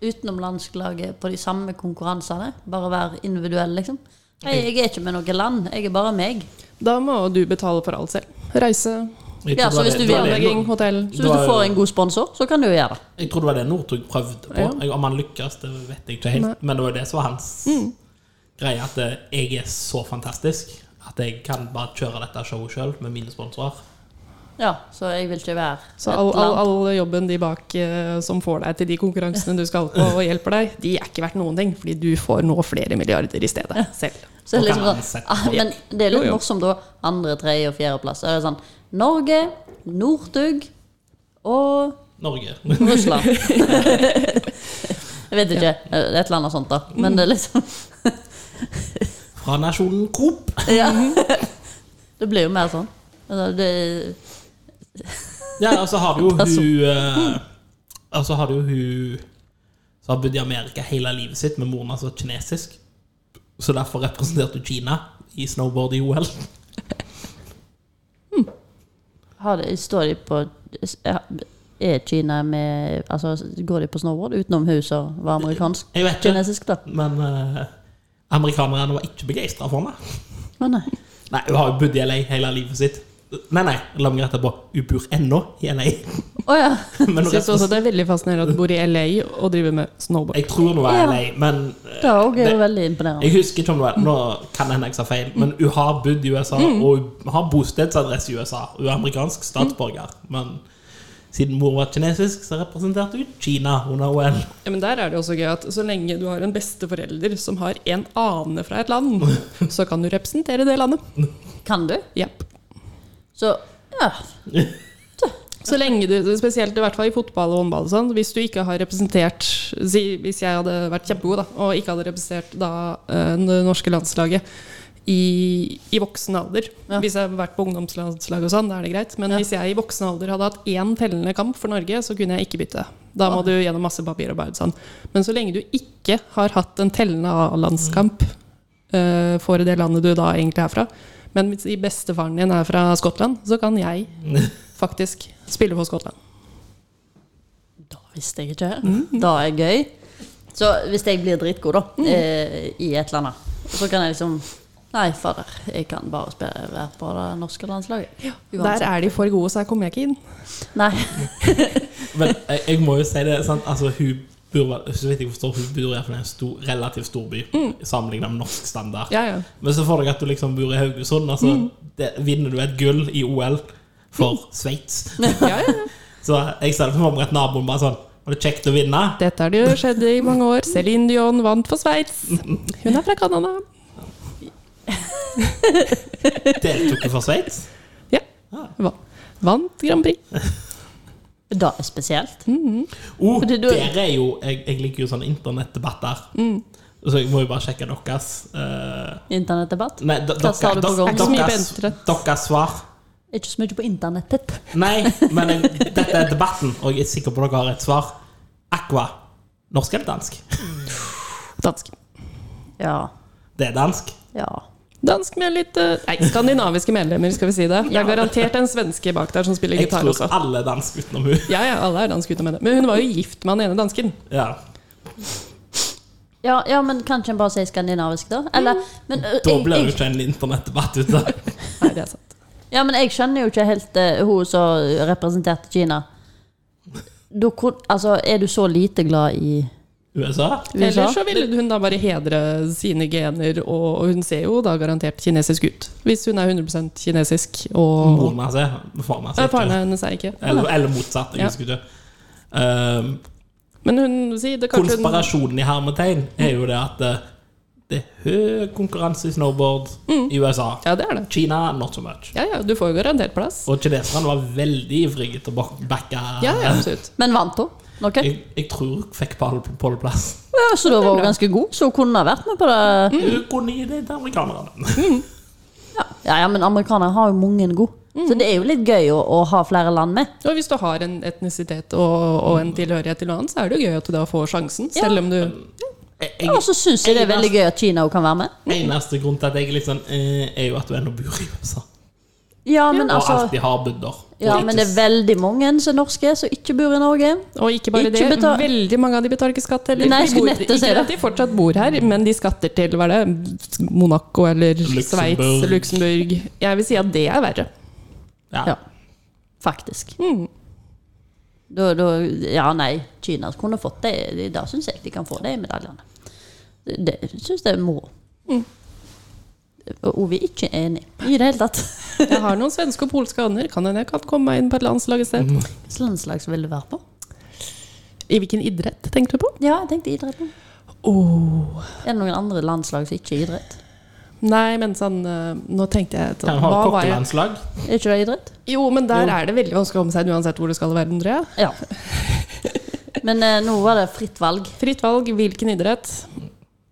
utenom landslaget på de samme konkurransene? Bare være individuell, liksom? Nei, jeg er ikke med noe land, jeg er bare meg.
Da må du betale for alt selv. Reise,
Jeg
Ja, så
tror det var
hvis
det-
du
det var det-
planlegging, hotell.
Så hvis
Da er
du får
jo-
en god sponsor, så kan du jo gjøre det.
Jeg tror det var det Northug prøvde på.
Ja.
Jeg- Om han lykkes, det vet jeg ikke helt.
Nei. Mm.
Men det var jo det som var hans greie, at eh, jeg er så fantastisk at jeg kan bare kjøre dette showet sjøl med mine sponsorer.
Ja, så jeg vil ikke være
Så
et
all, all,
land.
all jobben de bak eh, som får deg til de konkurransene du skal på og hjelper deg, de er ikke verdt noen ting, fordi du får nå flere milliarder i stedet selv.
Så det er
Og
liksom
kan
sånn,
ansette
ah,
folk.
men det er litt
Jo, jo.
morsomt, da. Andre, tredje og fjerdeplass. Da er det sånn Norge, Northug og
Norge.
Russland. jeg vet ikke. Det er et eller annet sånt, da. Men det er liksom
Fra nasjonen Coop.
Ja. Det blir jo mer sånn. Altså, Det,
Ja, og så har du jo
Person.
hun eh, Og så har du jo hun som har bodd i Amerika hele livet sitt, med moren hans var kinesisk. Så derfor representerte hun Kina i snowboard i OL.
har det, står de på Er Kina med Altså, går de på snowboard utenom huset og var amerikansk?
Jeg vet ikke,
Kinesisk, da?
men eh, amerikanerne var ikke begeistra for henne.
Å nei.
Nei, hun har jo bodd i LA hele livet sitt. Nei, nei, la meg rette på. Hun bor ennå i LA.
Å ja.
Men hun
Jeg synes også
representerer
det er veldig fascinerende at du bor i LA og driver med snowboard.
Jeg tror hun var i
Ja.
LA, men eh,
Det òg er jo
det-
veldig imponerende.
jeg husker ikke om det var Nå kan det hende jeg sa feil,
Mm.
men hun har bodd i USA, og hun har bostedsadresse i USA. Hun er amerikansk statsborger, men siden mor var kinesisk, så representerte hun Kina under OL.
Ja, men der er det også gøy at så lenge du har en besteforelder som har en ane fra et land, så kan du representere det landet.
Kan du?
Japp.
Så ja.
Så lenge du, spesielt i hvert fall i fotball og håndball, og sånn, hvis du ikke har representert si, Hvis jeg hadde vært kjempegod da, og ikke hadde representert da, eh, det norske landslaget i, i voksen alder
Ja.
Hvis jeg hadde vært på ungdomslandslag og sånn, da er det greit. Men
Ja.
hvis jeg i voksen alder hadde hatt én tellende kamp for Norge, så kunne jeg ikke bytte. Da må du gjennom masse papirarbeid. Sånn. Men så lenge du ikke har hatt en tellende A-landskamp
Mm.
eh, for det landet du da egentlig er fra Men hvis i bestefaren din er fra Skottland, så kan jeg faktisk spille for Skottland.
Da visste jeg ikke.
Mm.
Da er det gøy. Så hvis jeg blir dritgod, da, eh, i et eller annet, så kan jeg liksom Nei, fader, jeg kan bare spille, være på det norske landslaget.
Der er de for gode, så her kommer jeg ikke inn.
Nei.
Men jeg, jeg må jo si det, sant? Altså, hun bor, vel- så vidt jeg forstår, hun bor i hvert fall i en stor, relativt stor by, sammenlignet med norsk standard.
Mm. Ja, Mm. ja.
Men så får du at du liksom bor i Haugesund, altså, det, vinner du et gull i OL
Mm.
for Sveits.
ja, ja.
Så jeg ser det for meg at naboen bare sånn Var det kjekt å vinne?
Dette har det jo skjedd i mange år. Céline Dion vant for Sveits. Hun er fra Canada.
Deltok du for Sveits?
Ja. Vant, vant Grand Prix.
Da er spesielt.
Oh,
Fordi du- Mm.
dere er jo Jeg, jeg liker jo sånne internettdebatter. Så jeg må jo bare sjekke deres eh,
Internettdebatt.
Nei, d-
Hva sa du på
deres-
gang?
Ikke så mye på
deres-
internett.
deres svar.
Ikke så mye på internettet.
Nei, men jeg, dette er debatten, og jeg er sikker på dere har et svar. Aqua. Norsk eller dansk?
Dansk.
Ja.
Det er dansk.
Ja.
Dansk med litt eh, Nei, skandinaviske medlemmer, skal vi si det. Det er garantert en svenske bak der som spiller
Jeg
gitar
tror
også.
alle er dansk utenom hun.
Ja, ja, alle er dansk utenom henne. Men hun var jo gift med han ene dansken.
Ja.
Ja, ja, men kanskje en bare sier skandinavisk, da? Eller, men, ø,
Mm. Da blir det jo
jeg, jeg,
ikke en internettdebatt ut av det.
Nei, det er sant.
ja, men jeg skjønner jo ikke helt eh, hun som representerte Kina. Da, kon- altså, er du så lite glad i
USA.
USA?
Eller så ville hun da bare hedre sine gener, og, og hun ser jo da garantert kinesisk ut. Hvis hun er 100 kinesisk og
Moren hans er faren hans.
Nei,
er
Faren
ikke-
hennes er ikke
Eller, eller motsatt. Jeg
Ja.
husker ikke. Um,
Men hun sier det kanskje hun,
konspirasjonen i hermetegn er jo det at eh, det er høy konkurranse i snowboard i USA.
Ja, det er det.
Kina not so much.
Ja, ja, du får jo garantert plass.
Og kineserne var veldig ivrige til å bak- backe
Ja, ja, absolutt.
Men vant hun? Noe?
Jeg, jeg tror hun fikk pall- pallplass.
Ja, så da var hun ganske god, så hun kunne ha vært med på det.
Hun kunne gi det til amerikanerne.
Ja, ja, men amerikanere har jo mange gode. Så det er jo litt gøy å, å ha flere land med.
Og hvis du har en etnisitet og, og en tilhørighet til noe annet, så er det jo gøy at du da får sjansen, selv om du
Jeg,
Ja, altså, Og så syns jeg det er veldig gøy at Kina òg kan være med.
jeg, eneste grunn til at jeg er litt sånn eh, Er jo at du ennå bor i USA.
Ja, men
Og
altså
alltid har bodd der.
Ja,
Og
men
ikke
det er veldig mange som er norske, som ikke bor i Norge.
Og ikke bare
Ikke
det,
betal-
veldig mange av de betaler ikke skatt heller.
Nei, jeg
De
skulle
bor-
nettopp si
ikke
det.
at de fortsatt bor her, men de skatter til hva er det, Monaco eller Sveits,
Luxembourg.
Luxembourg. Jeg vil si at det er verre.
Ja.
Ja. Faktisk. Da, da, ja, nei. Kina kunne fått det. det- Da syns jeg de kan få det i medaljene. Det det syns jeg må. Mm. Og Ove er ikke enig i det hele tatt.
Jeg har noen svenske og polske aner. Kan hende jeg kan komme meg inn på et landslag i sted.
Hvilket landslag som vil du være på?
I hvilken idrett tenker du på?
Ja, jeg tenkte idretten.
Oh.
Er det noen andre landslag som ikke er idrett?
Nei, men sånn eh, Nå tenkte jeg sånn,
Kan ha
Hva var jeg?
kokkelandslag.
Er ikke det idrett?
Jo, men der er det veldig vanskelig å komme seg inn uansett hvor du skal i verden, tror jeg.
Ja. Men eh, nå var det fritt valg.
Fritt valg, hvilken idrett?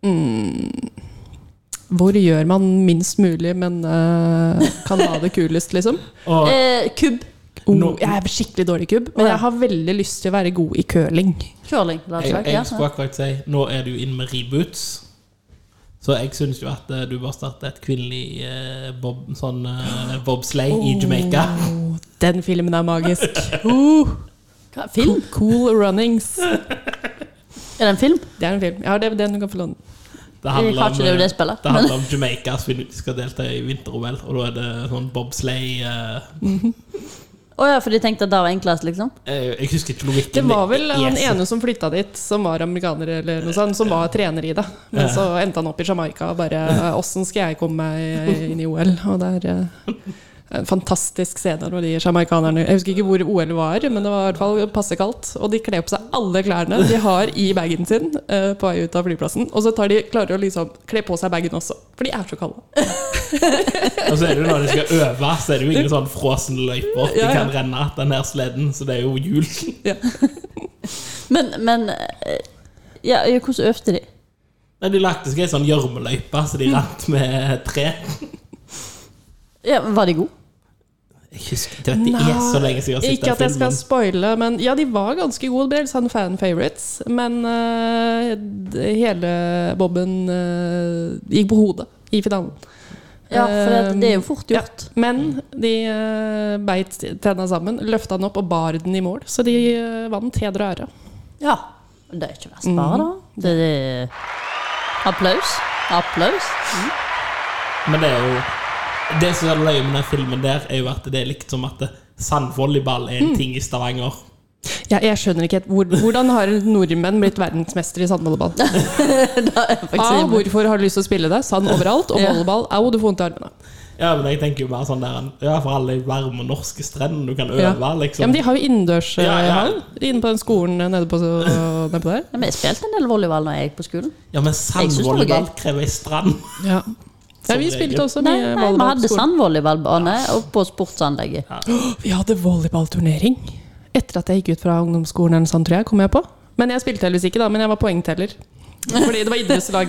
Mm. Hvor gjør man minst mulig, men eh, kan ha det kulest, liksom?
Og
Eh, kubb.
Oh,
Nå-
jeg er skikkelig dårlig i kubb, men jeg har veldig lyst til å være god i curling.
jeg,
Curlinglandslag. Ja.
jeg skulle akkurat si nå er du inn med reboots. Så jeg syns jo at eh, du bør starte et kvinnelig eh, bob, sånn, eh, bobsleigh i Jamaica.
Oh, den filmen er magisk. Oh,
Hva, Film?
cool Runnings.
Er det en film?
Det er en film. Jeg har DVD-en du kan få låne.
Det
Jeg har ikke
eh,
DVD-spillet,
det handler om Jamaica som skal delta i vinter-OL, og da er det sånn bobsleigh eh,
Å ja, for de tenkte at det var enklest, liksom?
eh, Jeg husker ikke logikken.
Det var vel han
Yes.
ene som flytta dit, som var amerikaner eller noe sånt, som var trener i det. Men så endte han opp i Jamaica og bare Åssen skal jeg komme meg inn i OL? Og det er eh, en fantastisk scene når de jamaicanerne Jeg husker ikke hvor OL var, men det var i hvert fall passe kaldt. Og de kler på seg alle klærne de har i bagen sin eh, på vei ut av flyplassen. Og så tar de, klarer de å liksom kle på seg bagen også, for de er så kalde.
Og så er det jo når de skal øve, så er det jo ingen sånn frosne løyper de
Ja, ja.
kan renne, den her sleden, så det er jo jul.
Men, men eh, ja, ja, Hvordan øvde de?
Nei, de lagde seg ei sånn gjørmeløype, så de rant med tre.
Ja, men Var de gode?
Jeg husker det, vet, det er så lenge siden jeg har sett
Ikke
den
at jeg skal
filmen.
spoile, men ja, de var ganske gode. Det ble litt sånn fan favorites. Men eh, d- hele bobben eh, gikk på hodet i finalen. Eh,
Ja, for Eh, det, det er jo fort gjort.
Men de eh, beit tenna sammen, løfta den opp og bar den i mål. Så de eh, vant heder og ære.
Ja. Det er ikke verst,
Mhm.
bare, da. Det, det. Applaus. Applaus.
Men det er jo Det som er løye med den filmen der, er jo at det er likt som at sandvolleyball er en ting i Stavanger.
Ja, jeg skjønner ikke helt hvor, Hvordan har nordmenn blitt verdensmester i sandvolleyball?
Da er jeg
A.
faktisk
Hvorfor har du lyst til å spille det? Sand overalt. Og
Ja.
volleyball. Au, du får vondt i armene.
Ja, men jeg tenker jo bare sånn der Ja, for alle varme norske strendene du kan øve,
Ja.
liksom.
Ja, men de har jo innendørshall
Ja, ja.
inne på den skolen eh, nede på, nede på der.
ja, men Jeg spilte en del volleyball når jeg gikk på skolen. synes det var
sandvolleyball
gøy.
krever ei strand.
Ja.
Som
vi
regel.
spilte også
Nei,
mye
nei,
volleyball.
Vi
på
hadde
skolen.
sandvolleyballbane og på sportsanlegget.
Vi hadde volleyballturnering. Etter at jeg gikk ut fra ungdomsskolen, eller sånn, tror jeg, kom jeg på. Men jeg spilte heldigvis ikke, da, men jeg var poengteller. Fordi det var idrettslaget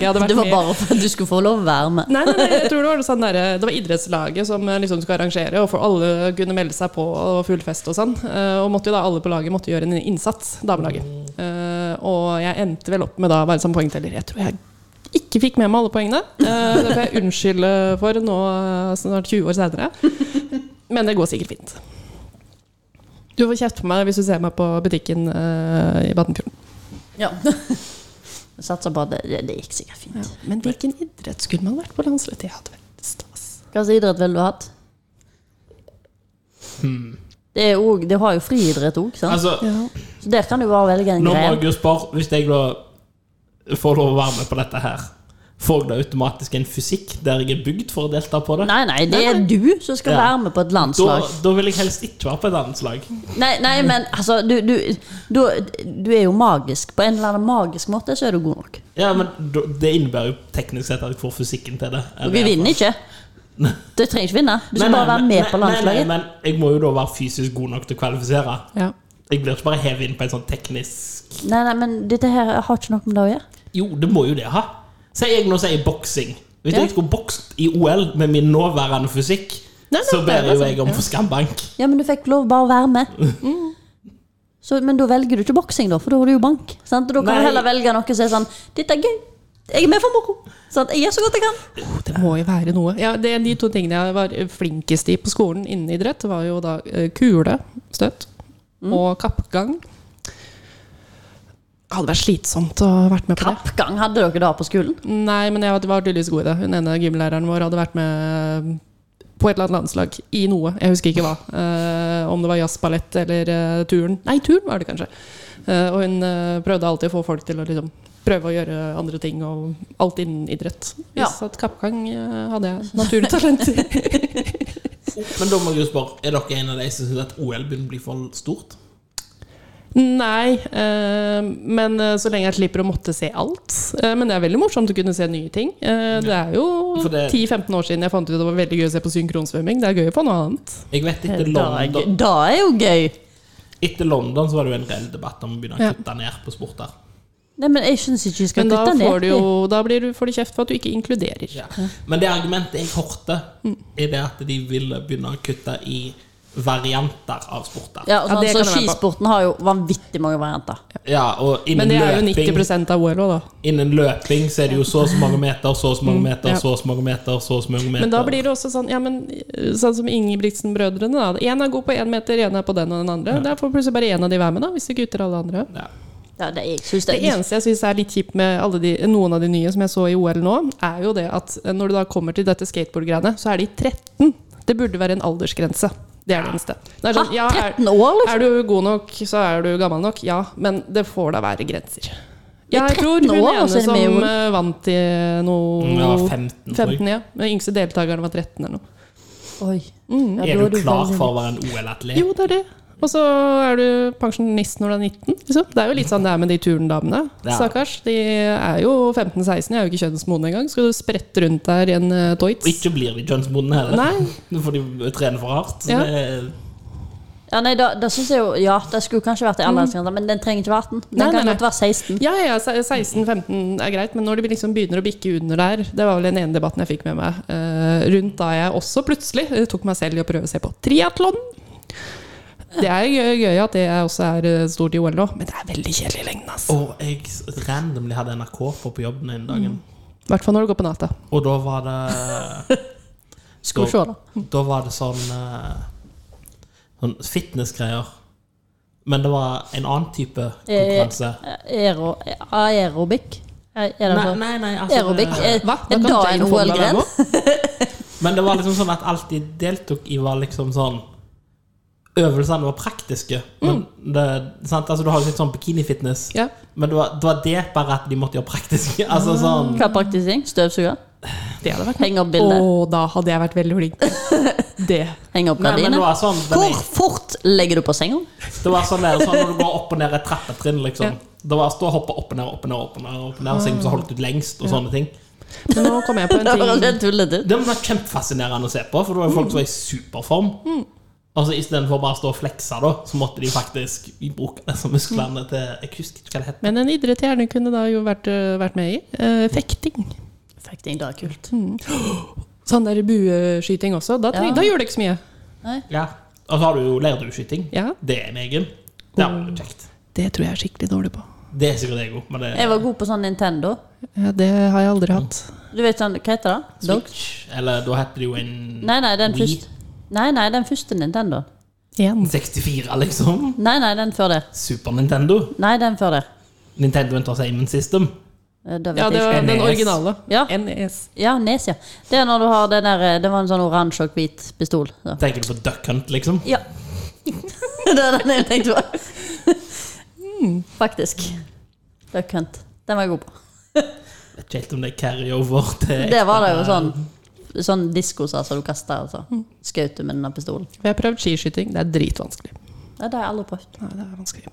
jeg hadde vært
Det var
med i.
bare for at du skulle få lov å være med.
Nei, nei, nei, jeg tror det var, sånn der, det var idrettslaget som eh, liksom skulle arrangere, og for alle kunne melde seg på og full fest og sånn. Eh, Og måtte jo da alle på laget måtte gjøre en innsats, damelaget. Eh, Og jeg endte vel opp med da å være sånn poengteller. Jeg tror jeg ikke fikk med meg alle poengene. Eh, Det får jeg unnskylde for nå eh, snart 20 år senere. Men det går sikkert fint. Du får kjeft på meg hvis du ser meg på butikken eh, i Batnfjorden.
Ja. Jeg Satser på at det, det, det gikk sikkert fint.
Men hvilken idrett skulle man vært på landslaget? Det hadde vært stas.
Hva slags idrett ville du hatt? Det, er jo- det har jo friidrett òg, sant?
Hmm. Altså,
Ja.
så der kan du bare velge en
nå må
gren.
jeg jo spørre, hvis jeg da får lov å være med på dette her, får jeg da automatisk en fysikk der jeg er bygd for å delta på det?
Nei, nei, det er du som skal
Ja.
være med på et
Da,
landslag.
da vil jeg helst ikke være på et landslag.
Nei, nei, men altså du, du, du, du er jo magisk. På en eller annen magisk måte så er du god nok.
Ja, men da- det innebærer jo teknisk sett at jeg får fysikken til det.
Og du vinner ikke. Du trenger ikke vinne. Du skal
Nei, nei,
bare være med
nei,
på
Nei,
landslaget.
nei, men jeg må jo da være fysisk god nok til å kvalifisere.
Ja.
Jeg blir ikke bare hevet inn på en sånn teknisk
Nei, nei, men dette her har ikke noe med det å gjøre.
Jo, det må jo det ha. Si jeg nå sier boksing. Hvis
Ja.
jeg skulle bokst i OL med min nåværende fysikk,
Nei, nei,
så
det er
ber jo
sånn,
jeg om
ja.
for skambank.
Ja, men du fikk lov bare å være med.
Mm.
Så, men da velger du ikke boksing, da, for da har du jo bank. Sant? Da kan
Nei.
du heller velge noe som er sånn Dette er gøy. Jeg er med for moro. Sant? Jeg gjør så godt jeg kan.
Det må jo være noe. Ja, det, de to tingene jeg var flinkest i på skolen innen idrett, var jo da eh, kule, støtt, og kappgang. Det hadde vært slitsomt å ha vært med på det.
Kappgang hadde dere da på skolen.
Nei, men jeg var tydeligvis god i det. Hun ene gymlæreren vår hadde vært med på et eller annet landslag i noe. Jeg husker ikke hva. Eh, om det var jazzballett eller eh, turn. Nei, turn var det kanskje. Eh, og hun eh, prøvde alltid å få folk til å liksom, prøve å gjøre andre ting, og alt innen idrett.
Ja.
Så at kappgang eh, hadde jeg naturlig talent i.
Men da må jeg jo spørre, er dere en av de som syns at OL begynner å bli for stort?
Nei, eh, men eh, så lenge jeg slipper å måtte se alt. Eh, men det er veldig morsomt å kunne se nye ting. Eh, det er jo
For det-
10-15 år siden jeg fant ut at det var veldig gøy å se på synkronsvømming. Det er gøy å få noe annet.
Jeg vet
Da
etter
er, gøy.
London,
da er jo gøy.
etter London så var det jo en reell debatt om å begynne å
Ja.
kutte ned på sporter.
Nei, men jeg syns ikke vi skal
Men da
kutte ned.
får du jo da blir du, får du kjeft for at du ikke inkluderer.
Ja. Men det argumentet jeg hørte, er det at de ville begynne å kutte i varianter av sporter.
Ja, og
Ja,
sånn,
det
så
kan jeg være med på.
skisporten har jo vanvittig mange varianter.
Ja, og innen
Men det er jo
løping
90 av OL òg, da.
Innen løping så er det jo så og så mange meter, så og så mange meter,
Mm, ja.
så og så mange meter, så og så mange meter.
Men da blir det også sånn ja, men, eh, Sånn som Ingebrigtsen-brødrene. da Én er god på én meter, én er på den og den andre. Der får plutselig bare én av de være med, da hvis de kutter alle andre.
ja.
Ja, det, jeg synes
Det
det,
eneste jeg syns er litt kjipt med alle de, noen av de nye som jeg så i OL nå, er jo det at eh, når du da kommer til dette skateboardgreiene, så er de 13. Det burde være en aldersgrense. Det er det eneste. Det er sånn,
Hæ?
ja, er,
13 år, liksom?
er du god nok, så er du gammel nok. Ja, men det får da være grenser. Ja, jeg
13
tror hun
år,
ene
altså, er det
som
med i OL?
eh, vant i noe
Mm, Ja, 15, tror jeg.
15, ja. Den yngste deltakeren var 13 eller noe.
Oi. Ja, da
Mm. Er du klar
veldig-
for å være en OL-atlet?
Jo, det er det. Og så er du pensjonist når du er 19. Liksom. Det er jo litt sånn det er med de turndamene.
Ja.
Stakkars. De er jo 15-16, jeg er jo ikke kjønnsmoden engang. Skal du sprette rundt der i en eh,
Og
Deutz?
ikke blir de kjønnsmodne heller.
Nei.
Nå får de trene for hardt. så
Ja.
Det er,
Ja, nei, da, da synes jeg jo Ja, det skulle kanskje vært i aldersgrensa, men den trenger ikke være 18. Den
Nei, nei,
kan
nei.
godt være 16.
Ja, ja, se- 16-15 er greit, men når de liksom begynner å bikke under der Det var vel den ene debatten jeg fikk med meg eh, rundt da jeg også plutselig eh, tok meg selv i å prøve å se på triatlon. Det er gøy, gøy at det også er eh, stort i OL nå, men det er veldig kjedelig i lengden. altså.
og jeg s- randomly hadde NRK på på jobben den
Mm.
dagen,
I hvert fall når du går på natta.
og da var det
Skal vi se, da.
Da var det sånn eh, Sånn fitnessgreier. Men det var en annen type
Eh,
konkurranse.
Eh, Aero, aerobic? Er er det
Nei,
for-
sånn.
nei, nei altså,
Aerobic?
det-
Er,
Hva?
er
Da kan
da en
telefonen være med
OL-gren?
Men det var liksom sånn at alt de deltok i, var liksom sånn Øvelsene var praktiske. Men det, sant? Altså, du har jo litt sånn bikinifitness,
Mm. Ja.
men det var, det var det bare at de måtte gjøre praktiske. Altså sånn
Mm.
Hva er praktisering? Støvsuger?
Det hadde vært
Henge opp bilder?
Og da hadde jeg vært veldig flink. Det.
Henge opp
Nei, men det
gardiner?
var sånn den
Hvor
ene-
fort legger du på senga?
Det var sånn, der, sånn når du går opp og ned et trappetrinn, liksom.
Ja. Ah.
Det var å stå og hoppe opp og ned, opp og ned, opp og ned, opp og ned og se hvem som holdt ut lengst, og sånne ting.
Men nå kom jeg på
Det var
en ting.
helt tullete.
Det var kjempefascinerende å se på, for det var jo folk som var i superform.
Mm.
Altså Istedenfor bare å stå og flekse, da, så måtte de faktisk bruke disse musklene
Mm.
til Jeg husker ikke hva det het.
Men en idrett jeg gjerne kunne da jo vært, vært med i. eh, fekting.
Fekting, det er kult.
Sånn der bueskyting også. Da, treng,
Ja.
da gjør det ikke så mye.
Ja. Og så har du jo leirdueskyting.
Ja.
Det er en egen. Det er
Mm.
jo kjekt.
Det tror jeg er skikkelig dårlig på.
Det er sikkert jeg òg, men det
Jeg var god på sånn Nintendo.
Ja, det har jeg aldri hatt.
Du vet sånn, Hva heter det? Dog?
Switch, Eller da heter det jo en
Nei, nei, den
Wii.
første. Nei, nei, den første Nintendo.
Én.
64, liksom.
Nei, nei, den før det.
Super Nintendo.
Nei, den før det.
Nintendo Entertainment System.
Eh, Da vet
Ja, det E
jeg ikke.
var den
NES.
originale. E
Ja.
NES.
Ja, nes, ja. Det er når du har den der eh, Det var en sånn oransje og hvit pistol. Ja.
Tenker du på Duck Hunt, liksom?
ja. det er den jeg tenkte på. Mm. Faktisk. Duck Hunt. Den var jeg god på.
Vet ikke helt om det er carryover til
Det var det jo sånn Sånn diskoser som du kaster, altså. Skjøt du med denne pistolen.
Vi har prøvd skiskyting. Det er dritvanskelig.
Ja, det har jeg aldri prøvd.
Nei, det er vanskelig.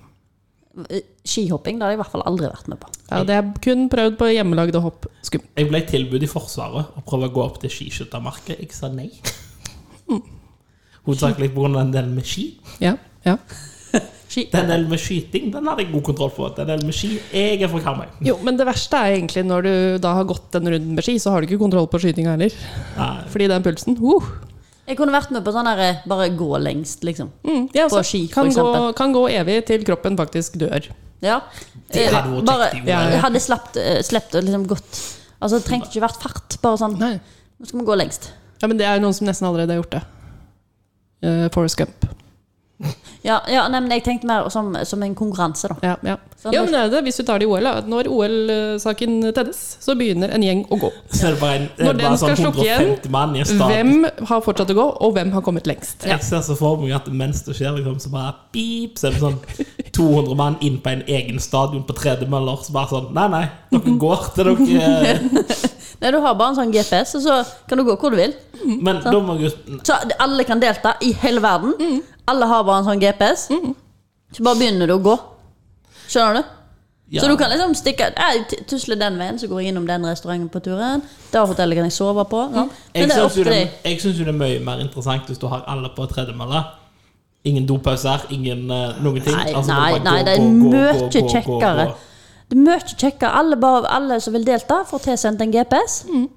Eh, Skihopping det har jeg i hvert fall aldri vært med på.
Ja, det er kun prøvd på hjemmelagde hopp. Skummelt.
Jeg ble tilbud i Forsvaret å prøve å gå opp til skiskyttermarkedet. Jeg sa nei. Hovedsakelig pga. den delen med ski.
Ja, ja.
Ski.
Den delen med skyting den hadde jeg god kontroll på. Den delen med ski Jeg er fra Karmøy.
Jo, men det verste er egentlig når du da har gått den runden med ski, så har du ikke kontroll på skytinga heller.
Nei.
Fordi den pulsen uh,
Jeg kunne vært med på sånn der bare gå lengst, liksom.
Mm, ja,
På
altså,
ski, for
kan, gå,
eksempel.
kan gå evig til kroppen faktisk dør.
Ja. Eh,
Det hadde vært
Bare-
kjekt, jo.
Ja,
Jeg hadde slapt, eh, slept og liksom gått. Altså, det trengte ikke vært fart. Bare sånn
Nei.
Nå skal vi gå lengst.
Ja, men det er noen som nesten allerede har gjort det. Uh, Forest Gump.
Ja, ja nei, men jeg tenkte mer som, som en konkurranse, da.
Ja, ja.
Sånn,
ja, men det er det, hvis du tar det i OL, da. Når OL-saken tennes, så begynner en gjeng å gå.
Så er det bare en det
Når
er
den
bare sånn
skal slukke igjen,
150 mann i en stad.
Hvem har fortsatt å gå, og hvem har kommet lengst?
Jeg ser så for meg at mens det skjer, liksom, så bare pip, så er det sånn 200 mann inn på en egen stadion på tredemøller. Så bare sånn Nei, nei,
Mhm.
dere går til dere eh,
Nei, du har bare en sånn GPS, og så kan du gå hvor du vil.
Men da må jeg jo
Så alle kan delta i hele verden.
Mm.
Alle har bare en sånn GPS. Så bare begynner du å gå. Skjønner du?
ja.
Så du kan liksom stikke eh, t- Tusle den veien, så går jeg innom den restauranten på turen. Der hotellet kan jeg sove på. sånn.
Mm. Jeg
Men det er
syns jo
opp til
det,
deg.
jeg synes jo det er mye mer interessant hvis du har alle på tredemølle. Ingen dopauser, ingen eh, noen ting.
Nei,
Altså,
nei,
bare
nei,
gå,
det er
gå, gå,
mye
gå, gå, gå,
kjekkere.
gå.
Det er mye kjekkere. Alle, bare, alle som vil delta, får tilsendt en GPS.
Mm.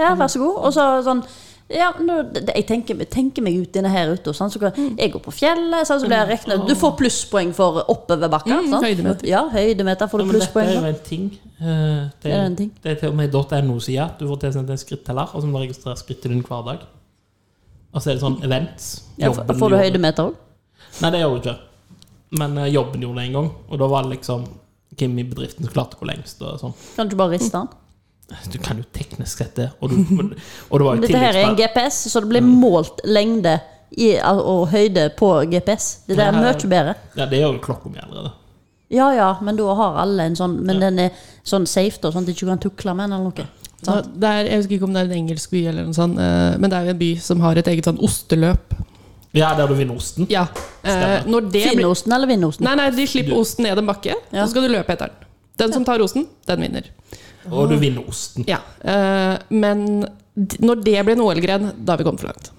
Ja, vær så god. Og så sånn ja, nå, det, jeg tenker, tenker meg ut denne her ute. og Sånn, så kan,
Mm.
jeg går på fjellet, sånn, så blir jeg regnet Du får plusspoeng for oppoverbakker.
Mm,
sant?
høydemeter.
Ja, høydemeter får
Ja,
du
men dette
plusspoeng
er jo
for.
en ting. Eh, Det
Det er
er,
en ting.
det er til og med .no-sida. Du får tilsendt en skritteller, og så må du registrere skrittet din hver dag. Og så er det sånn events.
Ja,
Jobben
får du
gjorde-
høydemeter òg?
Nei, det gjør du ikke. Men eh, jobben gjorde det en gang, og da var det liksom hvem i bedriften som klarte å gå lengst. og sånn.
Kan du ikke bare riste den?
Du kan jo teknisk sett det. Og, du, og, det var jo
Dette her er en
tilleggsspørsmål.
GPS, så det blir
Mm.
målt lengde i, al- og høyde på GPS. Det der er
Ja, ja.
mye bedre.
Ja, det gjør jo klokka mi allerede.
Ja ja, men da har alle en sånn, men den er sånn safe, da, sånn at du ikke kan tukle med den eller noe.
Så det er, jeg husker ikke om det er en engelsk by, eller noe sånt, eh, men det er jo en by som har et eget sånn osteløp.
Ja, der du vinner osten.
Ja. eh,
Stemmer.
Når det blir
Finnosten eller vinnosten?
Nei, nei, de slipper osten ned en bakke,
Ja.
så skal du løpe etter den. Den som tar osten, den vinner.
Og du vinner osten.
Ja. eh, men d- når det blir en OL-gren, da har vi kommet for langt.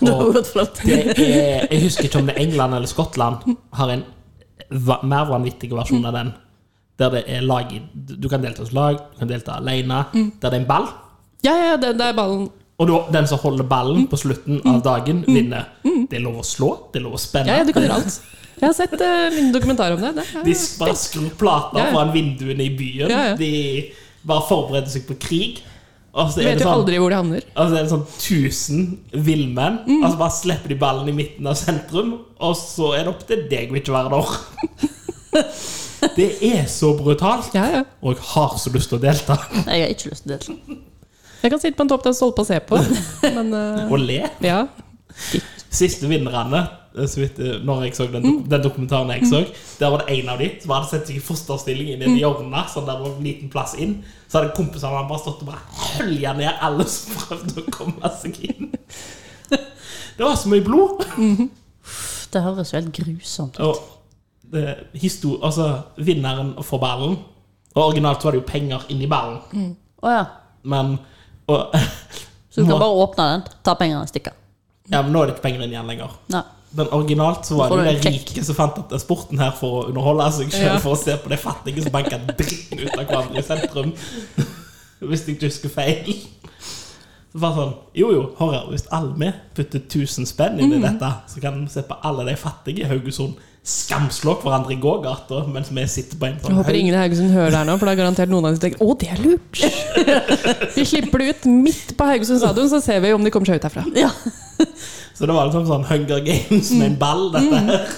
Og
gått flott.
det er, jeg husker ikke om det er England eller Skottland har en va mer vanvittig versjon av den. Der det er lag i Du kan delta hos lag, du kan delta alene.
Mm.
Der det er en ball.
Ja, ja, den der ballen.
Og da, den som holder
Mm.
ballen på slutten av dagen, vinner. Det er lov å slå, det er lov å spenne.
Ja, ja, du kan gjøre alt. Jeg har sett eh, en dokumentar om det. det er,
De bare skrur plater
Ja, ja.
foran vinduene i byen.
Ja, ja.
De bare forbereder seg på krig. Og så er
vet
det
jo
sånn,
aldri hvor de havner.
og så er det sånn 1000 villmenn. Og så bare slipper de ballen i midten av sentrum, og så er det opp til deg å ikke være der. Det er så brutalt,
Ja, ja.
og jeg har så lyst til å delta.
Jeg har ikke lyst til det.
Jeg kan sitte på en topp der stolpe og se på, men eh,
Og le.
ja.
Siste vinnerne så vidt, eh, Når jeg så den, dok- den dokumentaren jeg så Der var det en av de som hadde sett seg i fosterstilling Inne i et hjørne, sånn der det var en liten plass inn Så hadde kompisene han bare stått og bare Hølja ned alle som prøvde å komme seg inn Det var så mye blod
Det høres jo helt grusomt ut.
Og det, histo- altså, vinneren får ballen Og originalt var det jo penger inn i ballen
Å ja.
Men og,
Så du
Må-
kan bare åpne den, ta pengene og stikke.
ja, men nå er det ikke penger inn igjen lenger
Nei.
Men originalt så var
Får
det
du
jo
en
de
kjekk?
rike som fant opp den sporten her for å underholde seg selv,
Ja.
for å se på de fattige som banka dritten ut av hverandre i sentrum. Hvis jeg ikke husker feil. Så bare sånn Jo, jo, hør her. Hvis alle putter 1000 spenn
Mhm.
inn i dette, så kan vi se på alle de fattige i Haugesund skamslå hverandre i gågata mens vi sitter på en
Jeg
sånn
håper ingen i Haugesund hører det her nå, for det er garantert noen av dem som tenker å, det er lurt. Vi slipper det ut midt på Haugesund stadion, så ser vi om de kommer seg ut herfra.
Ja.
Så det var liksom sånn Hunger Games med en ball, dette
Mm.
her.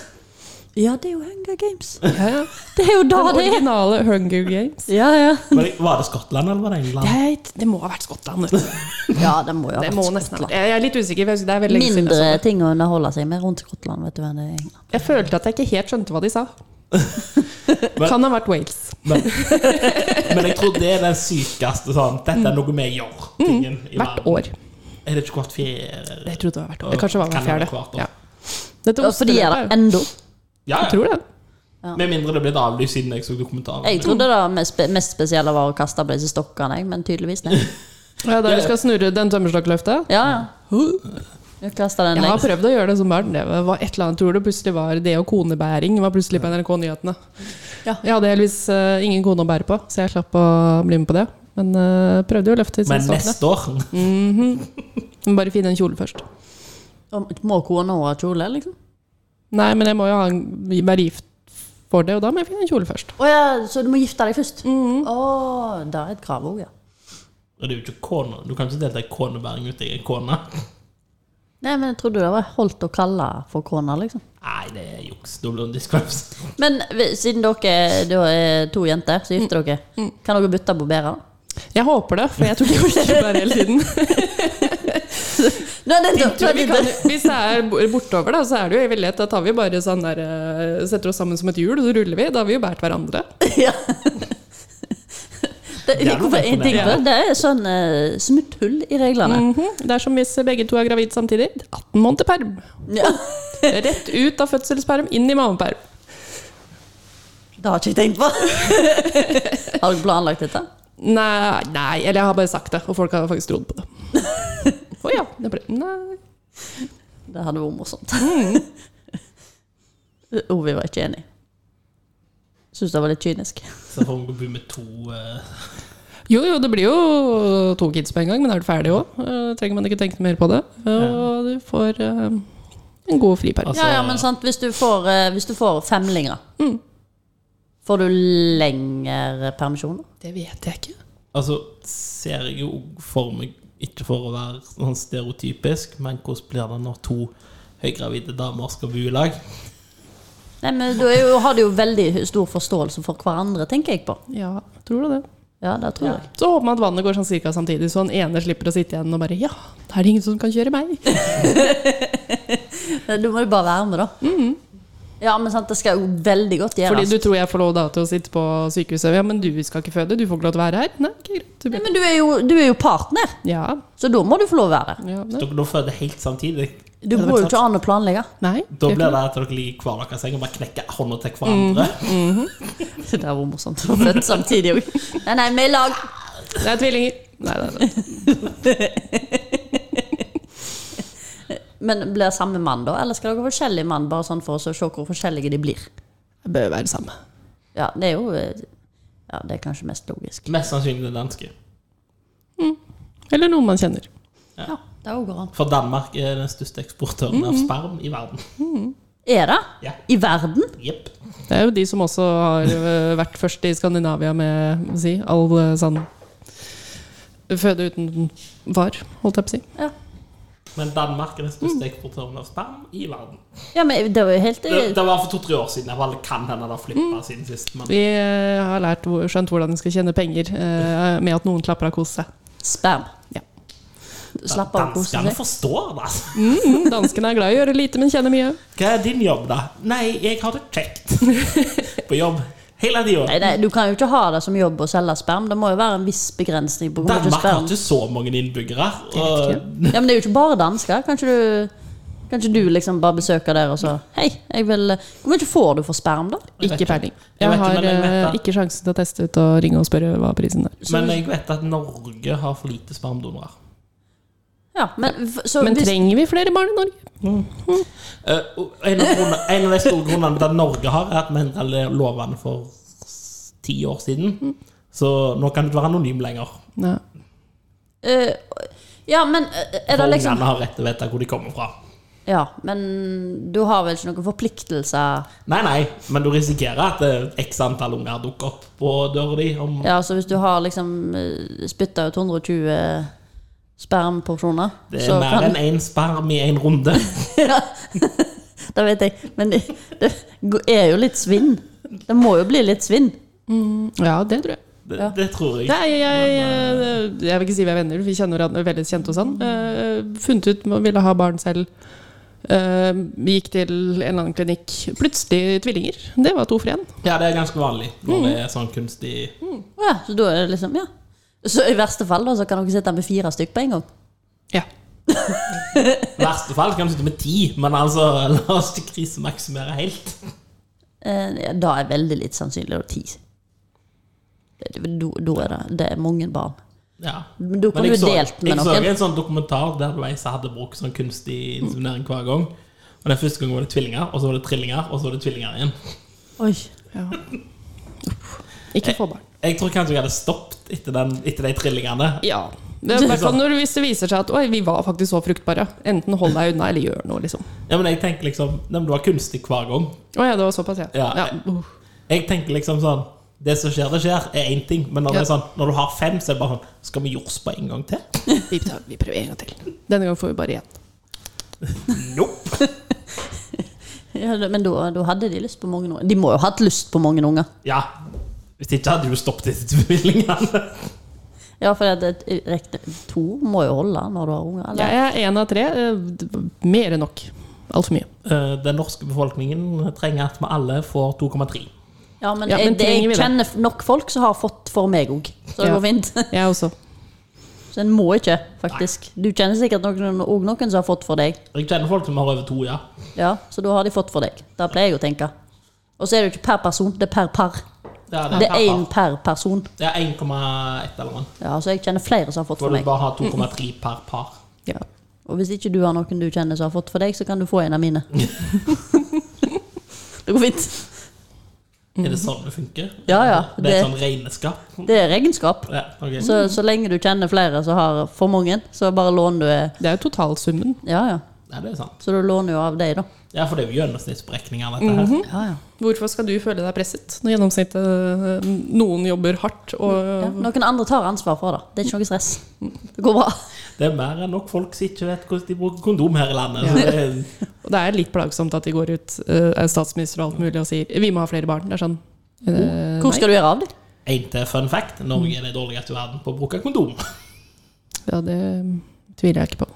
ja, det er jo Hunger Games.
Ja, ja.
Det er jo da
Den
det er.
originale Hunger Games.
Ja, ja.
Men Var det Skottland, eller var det England?
Jeg, det må ha vært Skottland. vet du.
ja, det må jo ha
Det
vært
må nesten ha
Skottland.
vært. Jeg er litt usikker. for jeg husker Det er veldig lenge siden. jeg så
Mindre
det.
ting å underholde seg med rundt Skottland, vet du enn i England.
Jeg følte at jeg ikke helt skjønte hva de sa.
Men-
Kan ha vært Wales.
Men, men jeg tror det er den sykeste sånn Dette er noe vi gjør. Tingen, i
Mm. Hvert
verden.
år.
Er det ikke hvert fjerde
Jeg trodde det var hvert år. Det kanskje var
Kan
hvert
være
fjerde.
hvert år.
Ja. Dette
Og fordi er
osteløpet
det ennå.
Ja,
Jeg tror det.
Med mindre det er blitt avlyst siden jeg så dokumentaren.
Jeg trodde det mest, spe- mest spesielle var å kaste på disse stokkene, jeg, men tydeligvis nei.
Ja, der du skal snurre den tømmerstokkløfta.
Ja, ja. Jeg kastet den
Jeg har
lengst.
prøvd å gjøre det som barn. Det var et eller annet, tror du plutselig var det og konebæring var plutselig på NRK Nyhetene.
Ja.
Jeg hadde heldigvis eh, ingen kone å bære på, så jeg slapp å bli med på det. Men eh, prøvde jo å løfte
Men
tidsstokkene.
neste år
Bare finne en kjole først.
Og Må kona ha kjole, liksom?
Nei, men jeg må jo ha en, være gift for det, og da må jeg finne en kjole først.
Å ja, så du må gifte deg først? Å, det er et krav òg, ja.
Og det er jo ikke kona. Du kan ikke delta i konebæring uten egen kone.
Nei, men jeg trodde det var holdt å kalle for kona, liksom.
Nei, det er juks. Da blir hun diskvalifisert.
Men vi- siden dere da er to jenter, så gifter dere, kan dere bytte på bærer?
Jeg håper det, for jeg tror de orker ikke være hele tiden.
Nei, det,
Vi, vi kan, hvis det er bo- bortover, da, så er det jo veldig lett. Da tar vi bare sånn der eh, Setter oss sammen som et hjul, og så ruller vi. Da har vi jo båret hverandre.
ja. det,
Det er noe
hvorfor
med
jeg
det.
digger det? Det er sånn eh, smutthull i reglene.
Mhm. Det er som hvis begge to er gravid samtidig. 18 måneder perm.
Ja.
Rett ut av fødselsperm, inn i mammaperm.
Det har ikke jeg tenkt på. har dere planlagt dette?
Nei, nei, eller jeg har bare sagt det, og folk har faktisk trodd på det. Å ja. Det ble, nei.
Det hadde vært morsomt. Mm. Ovi var ikke enig. Syns det var litt kynisk.
Så får hun gå bo med to eh,
Jo, jo, det blir jo to kids på en gang, men er du ferdig òg, trenger man ikke tenke mer på det. Eh, Og du får eh, en god friperm.
Altså-
Ja, ja, men sant, hvis du får, eh, hvis du får femlinger, får du lengre permisjon? da?
Det vet jeg ikke.
Altså, ser jeg jo for meg, ikke for å være sånn stereotypisk, men hvordan blir det når to høygravide damer skal bo i lag?
Nei, men du er jo, har du jo veldig stor forståelse for hverandre, tenker jeg på.
Ja, tror du det?
Ja, det tror jeg.
Så håper man at vannet går sånn cirka samtidig, så han ene slipper å sitte igjen og bare Ja, da er det ingen som kan kjøre meg.
Du må jo bare være med, da. Ja, men sant, det skal jo veldig godt
Fordi
gjøres.
du tror jeg får lov da til å sitte på sykehuset. Ja, men du skal ikke føde, du får ikke lov til å være her. Nei, ok, greit. Du
Nei,
blir.
men du er, jo, du er jo partner,
Ja,
så da må du få lov å være.
ja, nei.
Dere da føder helt samtidig.
Du
Ja,
går
det
jo
var
ikke an å planlegge.
nei.
Da
det
blir
er ikke
det at dere ligger i hver deres seng og bare knekker hånda til hverandre.
Mm. Det der var morsomt. å født samtidig òg. Nei, nei, vi er i lag.
noe. Det er tvillinger. Nei, nei, nei.
Men blir det samme mann, da? Eller skal dere ha forskjellig mann, bare sånn for å se hvor forskjellige de blir?
Det bør være det samme.
Ja, det er jo eh, Ja, det er kanskje mest logisk.
Mest sannsynlig det danske.
Eller noen man kjenner.
Ja, det går an.
For Danmark er den største eksportøren av sperm i verden.
Er det?
Ja.
I verden?
Jepp.
Det er jo de som også har øh, vært først i Skandinavia med hva skal jeg si, all øh, sånn Føde uten var, holdt jeg på å si.
Ja.
Men Danmark er den
Mm.
største eksportøren av sperm i verden.
ja, men det var jo helt eh,
Det, det var for to-tre år siden. Jeg bare kan hende det har
Mm.
flippa siden sist. Men
Vi øh, har lært, hvor- skjønt hvordan vi skal tjene penger øh, med at noen klapper av kos seg.
Sperm.
Ja.
Slapp av og kose
danskene
deg.
forstår det, altså.
Mm, danskene er glad i å gjøre lite, men kjenner mye.
Hva er din jobb, da? Nei, jeg har det kjekt på jobb hele tida.
Nei, nei, du kan jo ikke ha det som jobb å selge sperm. Det må jo være en viss begrensning på hvor mye
Danmark har
sperm
ikke så mange innbyggere.
riktig,
Og
Ja, Men det er jo ikke bare dansker. Kanskje du, kanskje du liksom bare besøker der og så Hei, jeg vil eh, Hvor mye får du for sperm, da?
Jeg vet
Ikke
ikke.
peiling.
Jeg
Jeg
vet ikke,
har
men jeg vet
øh,
det.
ikke sjansen til å teste ut og ringe og spørre hva prisen er.
Men jeg vet at Norge har for lite spermdonorer.
Ja, men, f- så
Men
hvis-
trenger vi flere barn i Norge?
Eh, og en, av grunnene, en av de store grunnene til at Norge har, er at vi endra lovene for s- ti år siden. Så nå kan du ikke være anonym lenger.
Nei.
eh, Ja, men eh, er det
For
liksom
Ungene har rett til å vite hvor de kommer fra.
Ja, men du har vel ikke noen forpliktelser?
Nei, nei, men du risikerer at eh, x antall unger dukker opp på døra di om
Ja, så hvis du har liksom eh, spytta ut 120 spermporsjoner
det er
så
mer enn én sperm i én runde.
Ja, det vet jeg. Men det, det er jo litt svinn. Det må jo bli litt svinn.
Ja, det tror jeg.
Det,
Ja.
det tror jeg.
Nei, jeg, jeg, jeg vil ikke si vi er venner, for vi kjenner hverandre veldig kjente og sånn. Eh, funnet ut man ville ha barn selv. Eh, vi gikk til en eller annen klinikk. Plutselig tvillinger. Det var to for én.
Ja, det er ganske vanlig når det er sånn kunstig
Å Ja, så da er det liksom, ja. Så i verste fall da, så kan dere sitte med fire stykk på en gang.
Ja.
I verste fall kan du sitte med ti, men altså, la oss ikke krisemaksimere helt.
Eh, ja, Da er veldig litt sannsynlig det er ti. Det- det- Da da er det, det er mange barn.
Ja.
Men da kan
Men
du
jeg så,
delt med
jeg så
noen.
en sånn dokumentar der det var ei som hadde brukt sånn kunstig inseminering hver gang. Og Den første gangen var det tvillinger, og så var det trillinger, og så var det tvillinger igjen.
Oi.
Ikke få barn.
Jeg tror kanskje jeg hadde stoppet etter, den, etter de trillingene.
Ja. Det er i hvert fall når, hvis det viser seg at Oi, vi var faktisk så fruktbare. Enten hold deg unna, eller gjør noe, liksom.
Ja, men jeg tenker liksom Nei, men du har kunstig hver gang.
Å ja, det var såpass, ja.
Ja.
Uh.
Jeg tenker liksom sånn Det som skjer, det skjer, er én ting. Men når, det er
Ja.
sånn, når du har fem, så er det bare sånn Skal vi jords på en gang til?
Vi, tar, vi prøver en gang til. Denne gangen får vi bare én.
Nope.
Ja, det- men da, da hadde de lyst på mange unger. De må jo ha hatt lyst på mange unger.
Ja. Hvis ikke hadde du stoppet disse bevilgningene.
Ja, for det, det, rekne, to må jo holde når du har unger. Eller?
Jeg er én av tre. eh, d- Mer enn nok. Altfor mye.
Eh, Den norske befolkningen trenger at vi alle får 2,3.
Ja, men,
Ja, men
jeg, det, jeg
trenger vi det?
kjenner f- nok folk som har fått for meg òg, så det
Ja.
går fint.
Jeg også.
Så en må ikke, faktisk. Du kjenner sikkert noen, og noen som har fått for deg.
Jeg kjenner folk som har over to, ja.
Ja, Så da har de fått for deg. Det pleier jeg å tenke. Og så er det jo ikke per person, det er per par.
Ja,
Det er én
per-
per person.
Det er 1,1 eller noe.
Ja, Så jeg kjenner flere som har fått
Hvor
for
du
meg.
bare har 2,3 per par.
Ja.
Og hvis ikke du har noen du kjenner som har fått for deg, så kan du få en av mine. det går fint.
Er det sånn det funker?
Mhm. Ja, ja,
Det er et
det-
sånn regneskap?
Det er regnskap.
Ja, ok.
Så, så lenge du kjenner flere som har for mange, så bare låner du eh,
Det er jo totalsummen.
Ja, ja.
Ja, det er sant.
Så du låner jo av deg, da.
Ja, for det er jo gjennomsnittsberegninger, dette her.
Ja, ja.
Hvorfor skal du føle deg presset når gjennomsnittet eh, Noen jobber hardt
Ja,
og
noen andre tar ansvar for det. Det er ikke noe stress. Det går bra.
Det er mer enn nok folk som ikke vet hvordan de bruker kondom her i landet.
Ja.
Så det er,
Og det er litt plagsomt at de går ut, eh, er statsminister og alt mulig, og sier 'vi må ha flere barn'. Det er sånn eh,
Hvor skal du gjøre av deg?
en til fun fact. Norge er det dårligste i verden på å bruke kondom.
nei. Ja, det tviler jeg ikke på.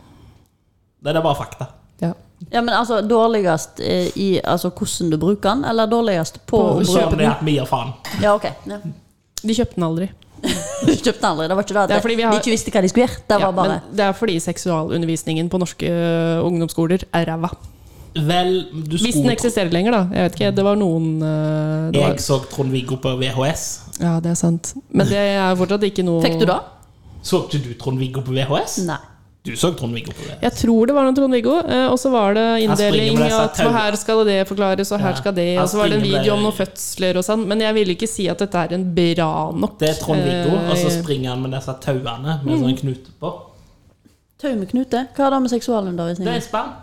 Det er bare fakta.
Ja.
Ja, men altså, Dårligst eh, i altså, hvordan du bruker den, eller dårligst på,
På
å
Og
bruke
så er det at vi gir faen.
Ja, ok. Ja.
De kjøpte den aldri.
Du kjøpte den aldri. Det var ikke det at
Det er fordi vi har-
de ikke visste hva de skulle gjøre. Det var
Ja,
bare
men det er fordi seksualundervisningen på norske eh, ungdomsskoler er ræva.
Vel, du
Hvis den
skulle
eksisterer lenger, da. Jeg vet ikke, det var noen eh, det
Jeg
var,
så Trond-Viggo på VHS.
Ja, det er sant. Men det er fortsatt ikke noe
Fikk du det?
Så ikke du Trond-Viggo på VHS?
Nei.
Du så Trond-Viggo på VHS.
Jeg tror det var noe Trond-Viggo, eh, og så var det
springer
inndeling
med disse
at
tau-
her skal det forklares, og her
Ja,
skal det,
han
og så var det en
springer med-
video om noen fødsler og sånn, men jeg ville ikke si at dette er en bra nok
Det er Trond-Viggo,
eh,
og så springer han med disse tauene med
Mm.
sånn knute på.
Tau med knute? Hva har det med
Det
seksualundervisning
er sperm.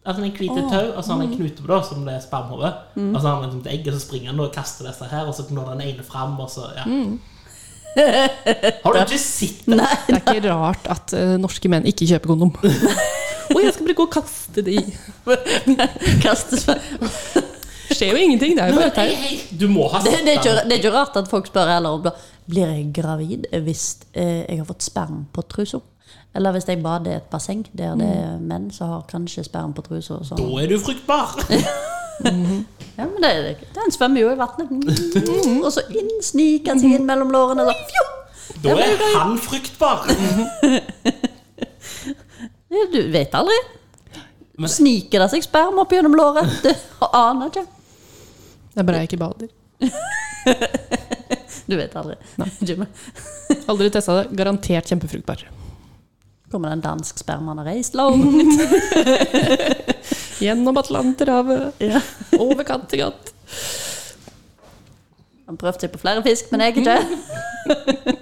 Altså en hvit tau, og så har han
mm.
en knute på det, som det er spermhode. Og så har han liksom et egg, og så springer han og kaster disse her, og så når den ene fram, og så ja. Har du ikke sett det?
Mm. Nei.
Det er ikke rart at eh, norske menn ikke kjøper kondom. Å, jeg skal bare gå og kaste det i.
Kastes fra-
Det skjer jo ingenting, det er jo
Nei,
bare
men,
tau.
hei, hei, du må ha
det,
sett
det, er ikke,
den.
det er ikke rart at folk spør heller om da, Blir jeg gravid hvis eh, jeg har fått sperm på trusa? Eller hvis jeg bader i et basseng der det
Mm.
er menn som har kanskje sperm på trusa. og
Da
sånn.
er du fruktbar.
Ja, men det, er det ikke. Den svømmer jo i vannet. Mm, Og så inn, sniker han seg inn mellom lårene. Og så, fjo!
Da er han fruktbar.
du vet aldri.
Men-
Sniker det seg sperm opp gjennom låret? Du aner ikke.
Det er bare jeg ikke bader.
Du vet aldri. Jimmy.
Aldri testa det. Garantert kjempefruktbar.
Kommer det en dansk sperm han har reist langt?
Gjennom Atlanterhavet,
Ja.
over Kattegat.
Han prøvde seg på flere fisk, men jeg ikke.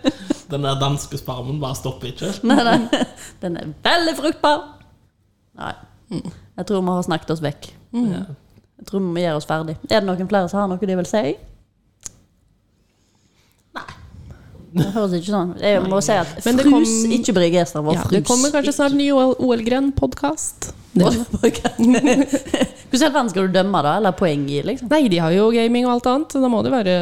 Den der danske spermen bare stopper ikke.
Nei, nei. Den er veldig fruktbar. Nei. Jeg tror vi har snakket oss vekk.
Mm.
Jeg tror vi gjør oss ferdig. Er det noen flere som har noe de vil si? Nei. Det høres ikke sånn Jeg må si at
Men det
frus,
kom-
ikke Brygester, var
Ja,
frus.
det kommer kanskje snart ny OL-gren-podkast.
Hvordan i all verden skal du dømme, da? Eller poeng i, liksom?
Nei, de har jo gaming og alt annet, så da må det være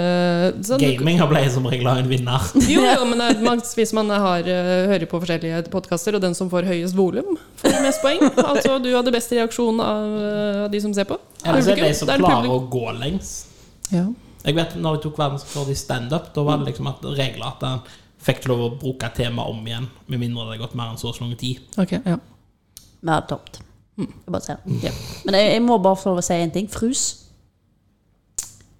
sånn.
Gaming har blitt som regel av en vinner.
Jo, jo, men det er maks hvis man har, eh, hører på forskjellige podkaster, og den som får høyest volum, får mest poeng. Altså du hadde best reaksjon av eh, av de som ser på.
Eller så er det de som
Publikum. Det er
klarer
publikum.
å gå lengs.
Ja.
Jeg vet når jeg tok verdensrekord i standup, da var det liksom at regler at han fikk ikke lov å bruke temaet om igjen, med mindre det hadde gått mer enn så og så lang tid.
Ok, ja.
Vi hadde tomt.
Mm.
Jeg bare sier det. Ja. Men jeg, jeg må bare få lov å si en ting. Frus.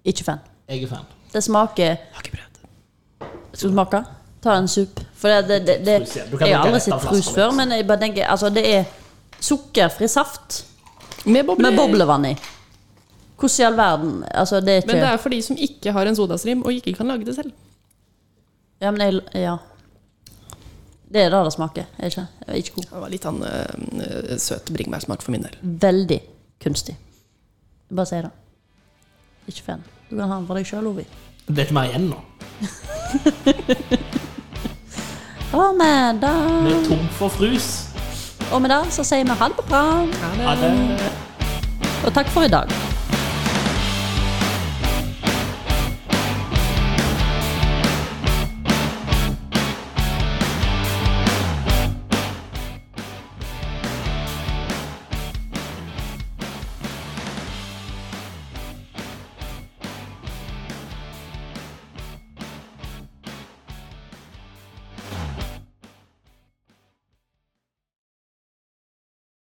Ikke fan.
Jeg er fan.
Det smaker
Har ikke prøvd.
Skal du smake? Ta en sup. For det, det, det,
Frus, ja. Du
det
kan
Jeg har
drikke
aldri
rett
sett
av
frus
flasken,
før,
liksom.
men jeg bare tenker Altså, det er sukkerfri saft
Med bobler.
med boblevann i. Hvordan i all verden Altså, det er ikke
Men det er for de som ikke har en sodastream, og ikke kan lage det selv.
Ja, men jeg Ja. Det er det det smaker. Er ikke, er ikke god.
Det var litt sånn eh, søt bringebærsmak for min del.
Veldig kunstig. Bare si det. Ikke fan. Du kan ha den for deg sjøl, Ovi.
Det er ikke mer igjen nå.
Og med det,
Vi er tom for frus.
og med det så sier vi ha det bra.
Ha det.
Og takk for i dag.